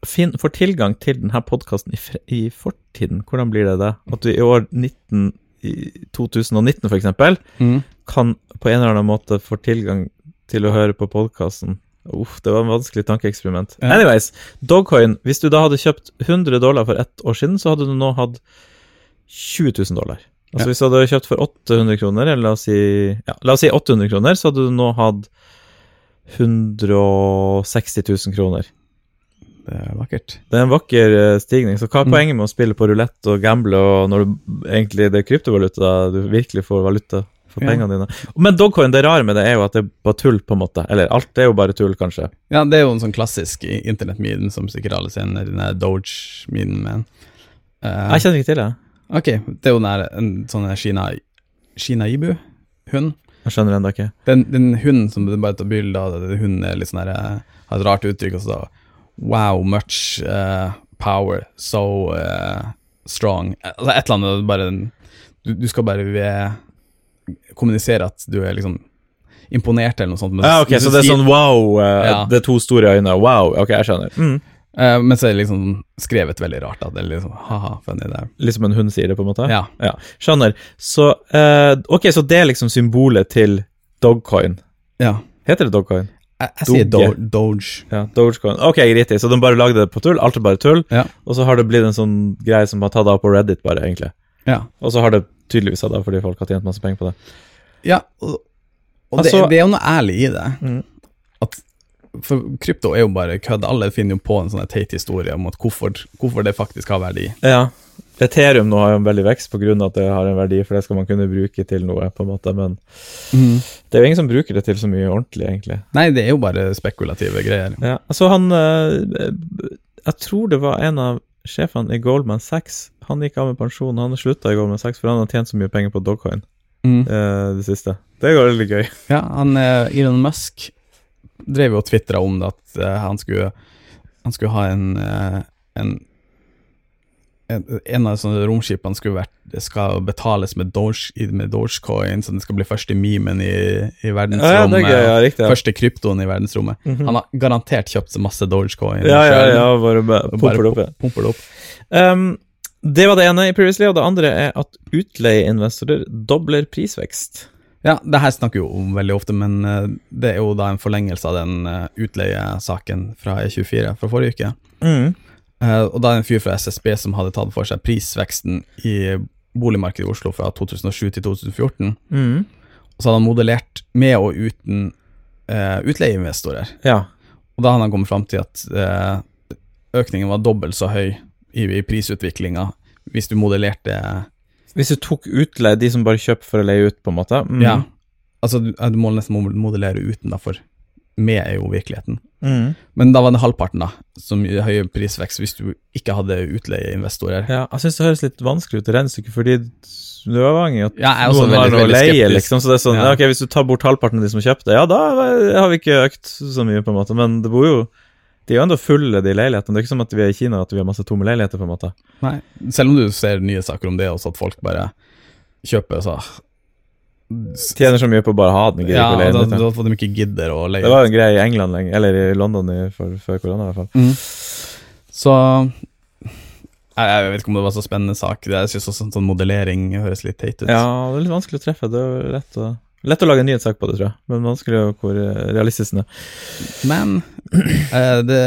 [SPEAKER 1] fin, får tilgang til denne podkasten i, fre- i fortiden, hvordan blir det det? At du i år 19, i 2019 for eksempel,
[SPEAKER 2] Mm.
[SPEAKER 1] kan på en eller annen måte få tilgang til å høre på podkasten. Uff, det var en vanskelig tankeeksperiment.
[SPEAKER 2] Ja.
[SPEAKER 1] Anyways, Dogcoin. Hvis du da hadde kjøpt 100 dollar for ett år siden, så hadde du nå hatt 20 000 dollar. Altså
[SPEAKER 2] Ja.
[SPEAKER 1] hvis du hadde kjøpt for 800 kroner, eller la oss si, ja, la oss si 800 kroner, så hadde du nå hatt 160 000 kroner.
[SPEAKER 2] Det er vakkert.
[SPEAKER 1] Det er en vakker eh, stigning, så hva er
[SPEAKER 2] Mm.
[SPEAKER 1] poenget med å spille på rulett og gamble og når du egentlig det er kryptovaluta, du virkelig får valuta for
[SPEAKER 2] Ja.
[SPEAKER 1] pengene dine? Men Dogcoin, det rare med det er jo at det er bare tull, på en måte. Eller alt er jo bare tull, kanskje.
[SPEAKER 2] Ja, det er jo en sånn klassisk i- internettmeden som sikkert alle kjenner, den der Doge-meden med
[SPEAKER 1] Jeg kjenner ikke til det.
[SPEAKER 2] Ok, det er jo den der en sånn der Kina, Kina Ibu-hund.
[SPEAKER 1] Jeg skjønner enda ikke.
[SPEAKER 2] Den, den hunden som du bare tar bilde av, den hunden er litt sånn der, eh, har et rart uttrykk, og så Wow, much eh, power, so eh, strong Altså et eller annet, bare en- Du, du skal bare eh, kommunisere at du er liksom imponert eller noe sånt. men
[SPEAKER 1] Ja, ok,
[SPEAKER 2] hvis du
[SPEAKER 1] Så det er
[SPEAKER 2] sier-
[SPEAKER 1] sånn wow, eh,
[SPEAKER 2] Ja.
[SPEAKER 1] det er to store øyne, wow. Ok, jeg skjønner. Mm.
[SPEAKER 2] eh, Men så er det liksom skrevet veldig rart, da. Det er liksom ha-ha, funny der.
[SPEAKER 1] Litt som Liksom en hund sier det, på en måte?
[SPEAKER 2] Ja.
[SPEAKER 1] ja. Skjønner. Så eh, ok, så det er liksom symbolet til Dogcoin.
[SPEAKER 2] ja.
[SPEAKER 1] Heter det Dogcoin?
[SPEAKER 2] Jeg, jeg sier do
[SPEAKER 1] Doge.
[SPEAKER 2] Doge.
[SPEAKER 1] Ja, Dogecoin. Ok, riktig. Så de bare lagde det på tull? Alt er bare tull?
[SPEAKER 2] Ja.
[SPEAKER 1] Og så har det blitt en sånn greie som har tatt av på Reddit, bare, egentlig.
[SPEAKER 2] Ja.
[SPEAKER 1] Og så har det tydeligvis tatt av fordi folk har tjent masse penger på det.
[SPEAKER 2] Ja, og, og
[SPEAKER 1] Altså-
[SPEAKER 2] det, det er jo noe ærlig i det.
[SPEAKER 1] Mm.
[SPEAKER 2] At for krypto er jo bare kødd. Alle finner jo på en sånn her teit historie om at hvorfor, hvorfor det faktisk har verdi.
[SPEAKER 1] Ja. Ethereum nå har jo en veldig vekst på grunn av at det har en verdi, for det skal man kunne bruke til noe, på en måte, men
[SPEAKER 2] Mm.
[SPEAKER 1] det er jo ingen som bruker det til så mye ordentlig, egentlig.
[SPEAKER 2] Nei, det er jo bare spekulative greier.
[SPEAKER 1] Ja, altså han eh, Jeg tror det var en av sjefene i Goldman Sachs. Han gikk av med pensjon, han slutta i Goldman Sachs, for han har tjent så mye penger på Dogcoin
[SPEAKER 2] Mm.
[SPEAKER 1] eh, det siste. Det går veldig gøy.
[SPEAKER 2] Ja, han eh, Elon Musk drev jo og tvitra om det, at eh, han, skulle, han skulle ha en eh, en en, en av sånne romskipene skulle vært, det skal betales med, Doge, med Dogecoin, så det skal bli første memen i, i verdensrommet.
[SPEAKER 1] Ja, det er gøy, ja, riktig. Ja. Mhm.
[SPEAKER 2] første kryptoen i verdensrommet. Han har garantert kjøpt seg masse dogecoin.
[SPEAKER 1] Ja, ja,
[SPEAKER 2] selv,
[SPEAKER 1] ja, bare, bare
[SPEAKER 2] og
[SPEAKER 1] pumper det opp. Ja.
[SPEAKER 2] pu- pumper det opp.
[SPEAKER 1] Um, det var det ene i Previously, og det andre er at utleieinvestorer dobler prisvekst.
[SPEAKER 2] Ja, det her snakker vi jo om veldig ofte, men eh, det er jo da en forlengelse av den eh, utleiesaken fra E24 fra forrige uke. Eh, og da er det en fyr fra SSB som hadde tatt for seg prisveksten i boligmarkedet i Oslo fra 2007 til 2014.
[SPEAKER 1] Mm.
[SPEAKER 2] Og så hadde han modellert med og uten eh, utleieinvestorer.
[SPEAKER 1] Ja.
[SPEAKER 2] Og da hadde han kommet fram til at eh, økningen var dobbelt så høy i, i prisutviklinga hvis du modellerte
[SPEAKER 1] Hvis du tok utleie, de som bare kjøper for å leie ut, på en måte mm.
[SPEAKER 2] Ja. Altså, du, du må nesten mo- modellere uten, da, for med er jo virkeligheten.
[SPEAKER 1] Mm.
[SPEAKER 2] Men da var det halvparten, da, som i høy prisvekst hvis du ikke hadde utleieinvestorer.
[SPEAKER 1] ja jeg syns det høres litt vanskelig ut i regnestykket, fordi du er avhengig av at
[SPEAKER 2] Ja, jeg er også
[SPEAKER 1] noen har
[SPEAKER 2] veldig,
[SPEAKER 1] noe å
[SPEAKER 2] veldig
[SPEAKER 1] leie,
[SPEAKER 2] skeptisk.
[SPEAKER 1] liksom. Så det er sånn,
[SPEAKER 2] Ja.
[SPEAKER 1] ja. ok, Hvis du tar bort halvparten av de som kjøpte, ja, da har vi ikke økt så mye, på en måte. Men det bor jo De er jo enda fulle, de leilighetene. Det er ikke som at vi er i Kina at vi har masse tomme leiligheter, på en måte.
[SPEAKER 2] Nei. Selv om du ser nye saker om det også, at folk bare kjøper og så
[SPEAKER 1] Tjener så mye på å bare å ha den. gidder
[SPEAKER 2] Ja,
[SPEAKER 1] ikke å leie
[SPEAKER 2] da,
[SPEAKER 1] den ut, ja.
[SPEAKER 2] da får de ikke gidder å leie.
[SPEAKER 1] Det var jo en greie i England lenge, eller i London i, for, før korona i hvert fall.
[SPEAKER 2] Så jeg, jeg vet ikke om det var så spennende sak. Jeg syns også sånn, sånn modellering høres litt teit ut.
[SPEAKER 1] Ja, det er litt vanskelig å treffe. Det er lett å, lett å lage en nyhetssak på det, tror jeg. Men vanskelig å hvor eh, realistisk den er.
[SPEAKER 2] Men eh, det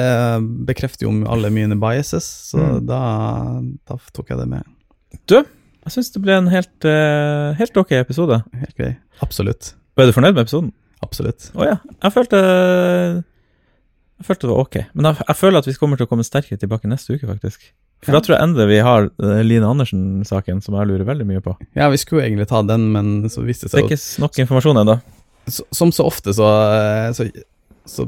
[SPEAKER 2] bekrefter jo alle mine biases, så da, da tok jeg det med.
[SPEAKER 1] Jeg syns det ble en helt, eh, helt ok episode.
[SPEAKER 2] Helt grei. Absolutt.
[SPEAKER 1] Var du fornøyd med episoden?
[SPEAKER 2] Absolutt.
[SPEAKER 1] Å ja. Jeg følte Jeg følte det var ok. Men jeg, jeg føler at vi kommer til å komme sterkere tilbake neste uke, faktisk. For da tror jeg endelig vi har eh, Line Andersen-saken, som jeg lurer veldig mye på.
[SPEAKER 2] Ja, vi skulle jo egentlig ta den, men så viste det
[SPEAKER 1] Det er
[SPEAKER 2] seg
[SPEAKER 1] ikke s- nok informasjon ennå.
[SPEAKER 2] S- Som så ofte så, eh, så, så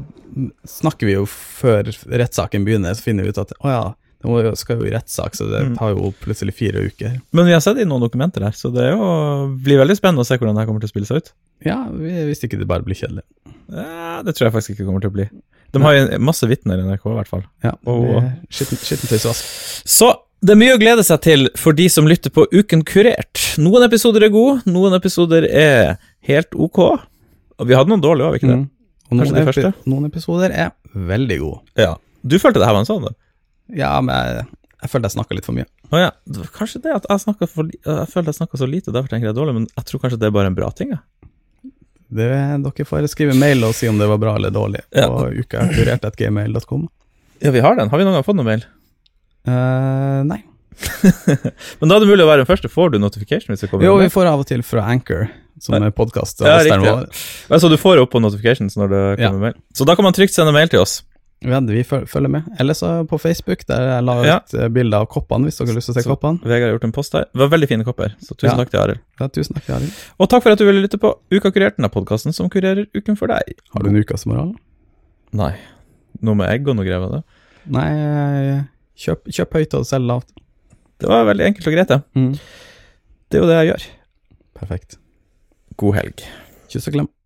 [SPEAKER 2] snakker vi jo før rettssaken begynner, så finner vi ut at å ja, det må jo- skal jo i rettssak, så det
[SPEAKER 1] Mm.
[SPEAKER 2] tar jo plutselig fire uker.
[SPEAKER 1] Men vi har sett det i noen dokumenter her, så det er jo, blir veldig spennende å se hvordan det her kommer til å spille seg ut.
[SPEAKER 2] Ja, vi- hvis ikke det bare blir kjedelig.
[SPEAKER 1] Eh, Det tror jeg faktisk ikke kommer til å bli. De har jo en- masse vitner i NRK, i hvert fall.
[SPEAKER 2] Ja, det
[SPEAKER 1] Åh.
[SPEAKER 2] blir skitten- Skittentøysvask.
[SPEAKER 1] Så det er mye å glede seg til for de som lytter på Uken kurert. Noen episoder er gode, noen episoder er helt ok. Og vi hadde noen dårlige òg, ikke det?
[SPEAKER 2] Mm. Og noen,
[SPEAKER 1] Kanskje det
[SPEAKER 2] epi-
[SPEAKER 1] første?
[SPEAKER 2] noen episoder er veldig gode.
[SPEAKER 1] Ja. Du følte det her var en sånn? da?
[SPEAKER 2] Ja, men jeg, jeg følte jeg snakka litt for mye.
[SPEAKER 1] Å ja. Det var Kanskje det at jeg snakket for li- Jeg følte jeg snakka så lite, derfor tenker jeg det er dårlig, men jeg tror kanskje det er bare en bra ting, jeg.
[SPEAKER 2] Det, dere får skrive mail og si om det var bra eller dårlig
[SPEAKER 1] Ja.
[SPEAKER 2] på ukakurert.gmail.com.
[SPEAKER 1] Ja, vi har den. Har vi noen gang fått noen mail?
[SPEAKER 2] Eh, nei.
[SPEAKER 1] Men da er det mulig å være den første. Får du notification hvis det kommer
[SPEAKER 2] Jo,
[SPEAKER 1] en
[SPEAKER 2] vi
[SPEAKER 1] mail?
[SPEAKER 2] får av og til fra Anchor, som er podkast.
[SPEAKER 1] Ja, riktig, ja. Altså, du får opp på notifications når det kommer
[SPEAKER 2] Ja.
[SPEAKER 1] mail. Så da kan man trygt sende mail til oss.
[SPEAKER 2] Ja, vi føl- følger med. Eller så på Facebook, der jeg la ut
[SPEAKER 1] Ja.
[SPEAKER 2] eh, bilder av koppene, hvis dere har lyst til å se
[SPEAKER 1] Så-
[SPEAKER 2] koppene.
[SPEAKER 1] Vegard har gjort en post der. Det var veldig fine kopper, så tusen
[SPEAKER 2] Ja.
[SPEAKER 1] takk til Arild.
[SPEAKER 2] Ja, tusen takk, Arild.
[SPEAKER 1] Og takk for at du ville lytte på Uka kurert, den er podkasten som kurerer uken for deg.
[SPEAKER 2] Har du en ukas moral?
[SPEAKER 1] Nei. Noe med egg og noe greier med det.
[SPEAKER 2] Nei, eh, kjøp, kjøp høyt og selg lavt.
[SPEAKER 1] Det var veldig enkelt og greit, det.
[SPEAKER 2] Mm.
[SPEAKER 1] Det er jo det jeg gjør.
[SPEAKER 2] Perfekt.
[SPEAKER 1] God helg.
[SPEAKER 2] Kyss og klem.